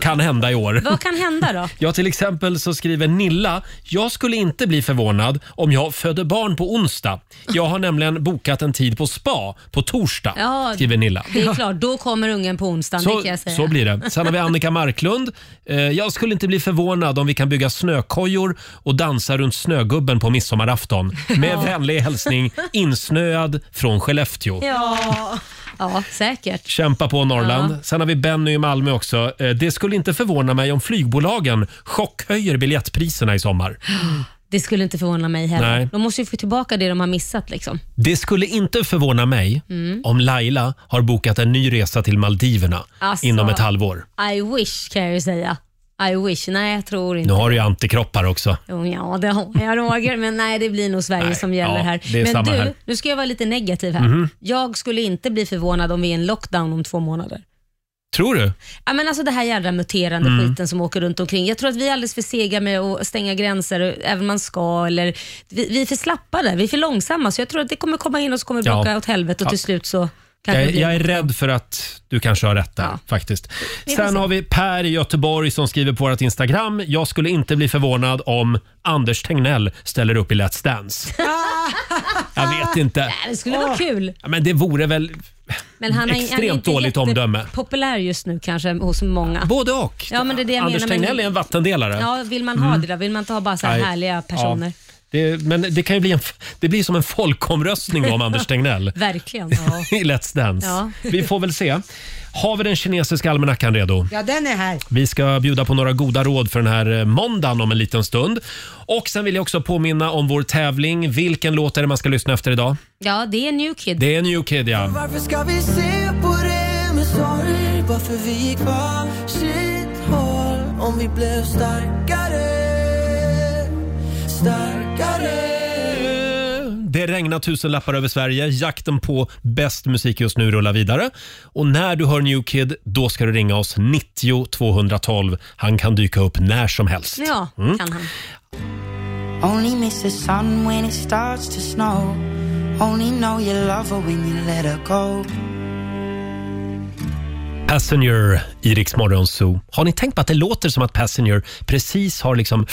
kan hända i år. Vad kan hända då? Ja, till exempel så skriver Nilla, jag skulle inte bli förvånad om jag föder barn på onsdag. Jag har nämligen bokat en tid på spa på torsdag, Ja, skriver Nilla. Det är klart, då kommer ungen på onsdagen, det Så, kan jag säga. så blir det. Sen har vi Annika Marklund. Eh, jag skulle inte bli förvånad om vi kan bygga snökojor och dansa runt snögubben på midsommarafton. Med Ja. vänlig hälsning insnöad från Skellefteå. Ja. ja, säkert. Kämpa på Norrland. Ja. Sen har vi Benny i Malmö också. Eh, Det skulle inte förvåna mig om flygbolagen chockhöjer biljettpriserna i sommar. Det skulle inte förvåna mig heller. Nej. De måste ju få tillbaka det de har missat. Liksom. Det skulle inte förvåna mig Mm. om Laila har bokat en ny resa till Maldiverna Alltså. inom ett halvår. I wish kan jag ju säga. I wish. Nej, jag tror inte. Nu har du ju antikroppar också. Jo, ja, det har jag Roger, men nej det blir nog Sverige Nej, som gäller ja, här. det är men samma du, här. nu ska jag vara lite negativ här. Mhm. Jag skulle inte bli förvånad om vi är i en lockdown om två månader. Tror du? Ja, men alltså det här jävla muterande Mm. skiten som åker runt omkring. Jag tror att vi är alldeles för sega med att stänga gränser, även om man ska. Eller, vi, vi är för slappa där, vi är för långsamma. Så jag tror att det kommer komma in och så kommer det Ja. bråka åt helvete och Ja. till slut så kanske det Jag, blir... jag är rädd för att du kanske har rätt där faktiskt. Vi får Sen se. har vi Per i Göteborg som skriver på vårt Instagram. Jag skulle inte bli förvånad om Anders Tegnell ställer upp i Let's Dance. Jag vet inte. Nej, det skulle vara kul. Ja, Men det vore väl... Men han har- han är Extremt inte dåligt omdöme. populär just nu kanske hos många. Både och. Ja, men det är det jag Anders menar, men- Tegnell är en vattendelare. Ja, vill man ha Mm. det då? Vill man inte ha bara så här Nej. härliga personer? Ja. Det, men det kan ju bli en, det blir som en folkomröstning om Anders Tegnell Verkligen. Ja. i Let's Dance. Ja. Vi får väl se. Har vi den kinesiska almanackan redo? Ja, den är här. Vi ska bjuda på några goda råd för den här eh, måndagen om en liten stund. Och Sen vill jag också påminna om vår tävling. Vilken låt är det man ska lyssna efter idag? ja, det är New Kid. Det är New Kid, ja. Varför ska vi se på det med sorg? Varför vi gick var sitt håll? Om vi blev starkare, starkare Det regnar tusen lappar över Sverige. Jakten på bäst musik just nu rullar vidare. Och när du hör New Kid, då ska du ringa oss 90 212. Han kan dyka upp när som helst. Ja, Mm. kan Eh, han. Only miss the sun when it starts to snow. Only know you love her when you let her go. Passenger i Rix Morgon Zoo. Har ni tänkt på att det låter som att Passenger precis har liksom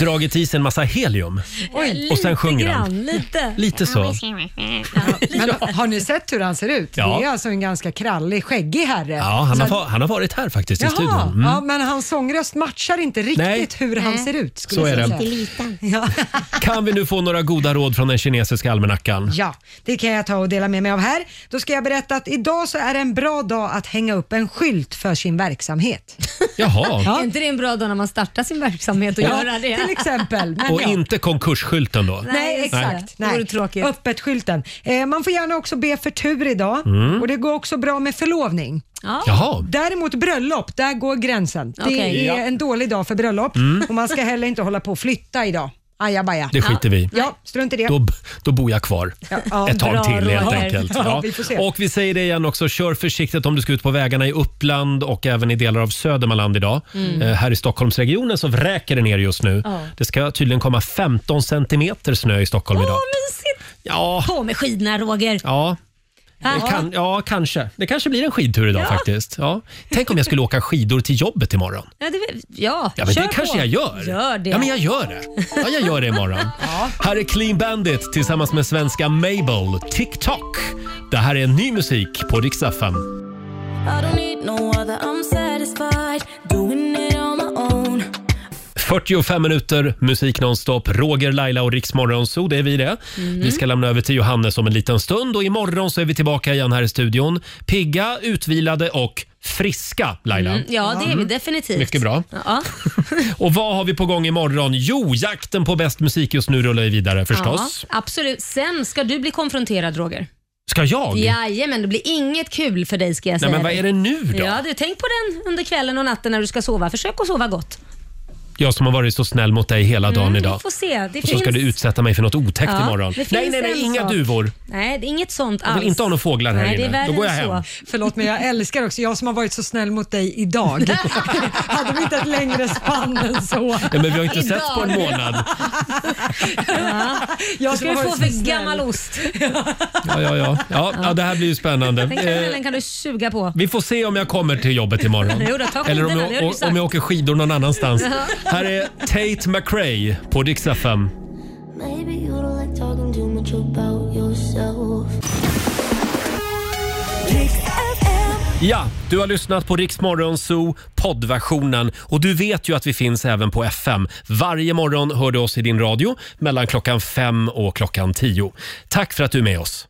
dragit i sig en massa helium? Oj. Och sen sjunger han. Lite. Lite så. Men, har ni sett hur han ser ut? Ja. Det är alltså en ganska krallig, skäggig herre. Ja, han Så har, va- han har varit här faktiskt i Jaha, studion. Mm. ja, men hans sångröst matchar inte riktigt Nej. hur han Nej. ser ut. Så jag är säga. det. Ja. Kan vi nu få några goda råd från den kinesiska almanackan? Ja, det kan jag ta och dela med mig av här. Då ska jag berätta att idag så är det en bra dag att hänga upp en skylt för sin verksamhet. Jaha. Är inte det en bra dag när man startar sin verksamhet och Ja, göra det? till exempel. Men Och ja. inte konkursskylten då? Nej, exakt. Det Nej. vore tråkigt. Öppet skylten. Eh, man får gärna också be för tur idag Mm. och det går också bra med förlovning. Jaha. Däremot bröllop, där går gränsen. Det Okej. Ja. är en dålig dag för bröllop Mm. och man ska heller inte hålla på och flytta idag. ajabaja. Det skiter vi i. Ja, strunt i det. Då, då bor jag kvar Ja, ja. ett tag Bra till helt Roger. enkelt. Ja, Ja. vi får se. Och vi säger det igen också, kör försiktigt om du ska ut på vägarna i Uppland och även i delar av Södermanland idag. Mm. Eh, här i Stockholmsregionen så vräker det ner just nu. Ja. Det ska tydligen komma 15 centimeter snö i Stockholm idag. mysigt! Ja. På med skidorna Roger. Ja. Ja. Det kan, ja, kanske. Det kanske blir en skidtur idag Ja. faktiskt. Ja. Tänk om jag skulle åka skidor till jobbet imorgon. Ja, det, ja, Ja, men kör det kanske på. jag gör. Gör det. Ja, men jag gör det. Ja, jag gör det imorgon. Här är Clean Bandit tillsammans med svenska Mabel, TikTok. Det här är ny musik på Rix FM. I don't need no other, I'm satisfied doing it on my own. 45 minuter musik nonstop. Roger, Laila och Rix Morgonzoo, det är vi det. Mm. Vi ska lämna över till Johannes om en liten stund och imorgon så är vi tillbaka igen här i studion. Pigga, utvilade och friska, Laila. Mm, ja, det är vi Mm. definitivt. Mycket bra. Ja. Och vad har vi på gång imorgon? Jo, jakten på bäst musik just nu rullar ju vidare förstås. Ja, absolut. Sen ska du bli konfronterad Roger. Ska jag? Jajamän, det blir inget kul för dig ska jag Nej, säga men vad dig. är det nu då? Ja, du, tänk på den under kvällen och natten när du ska sova. Försök att sova gott. Jag som har varit så snäll mot dig hela dagen Mm, Vi idag. får se. Det Och så ska du utsätta mig för något otäckt Ja, imorgon. det Nej, finns nej, nej, en inga sak. duvor. Nej, det är inget sånt Jag alls. vill inte ha några fåglar här Nej, det är inne. Då värre går jag än så. hem. Förlåt men jag älskar också, jag som har varit så snäll mot dig idag. Hade vi inte ett längre spann än så. Ja, men vi har ju inte setts på en månad. Vad Jag ska som du har få varit för så snäll. gammal ost? Ja, ja, ja. ja, ja det här blir ju spännande. Den Eh, karamellen kan du suga på. vi får se om jag kommer till jobbet imorgon. Jo då, ta Eller om skidorna, det har jag, du och- sagt. om jag åker skidor någon annanstans. Ja. Här är Tate McRae på Dix FM. Maybe you don't like talking too much about yourself. Ja, du har lyssnat på Rix Morgon Zoo poddversionen och du vet ju att vi finns även på FM. Varje morgon hör du oss i din radio mellan klockan fem och klockan tio. Tack för att du är med oss.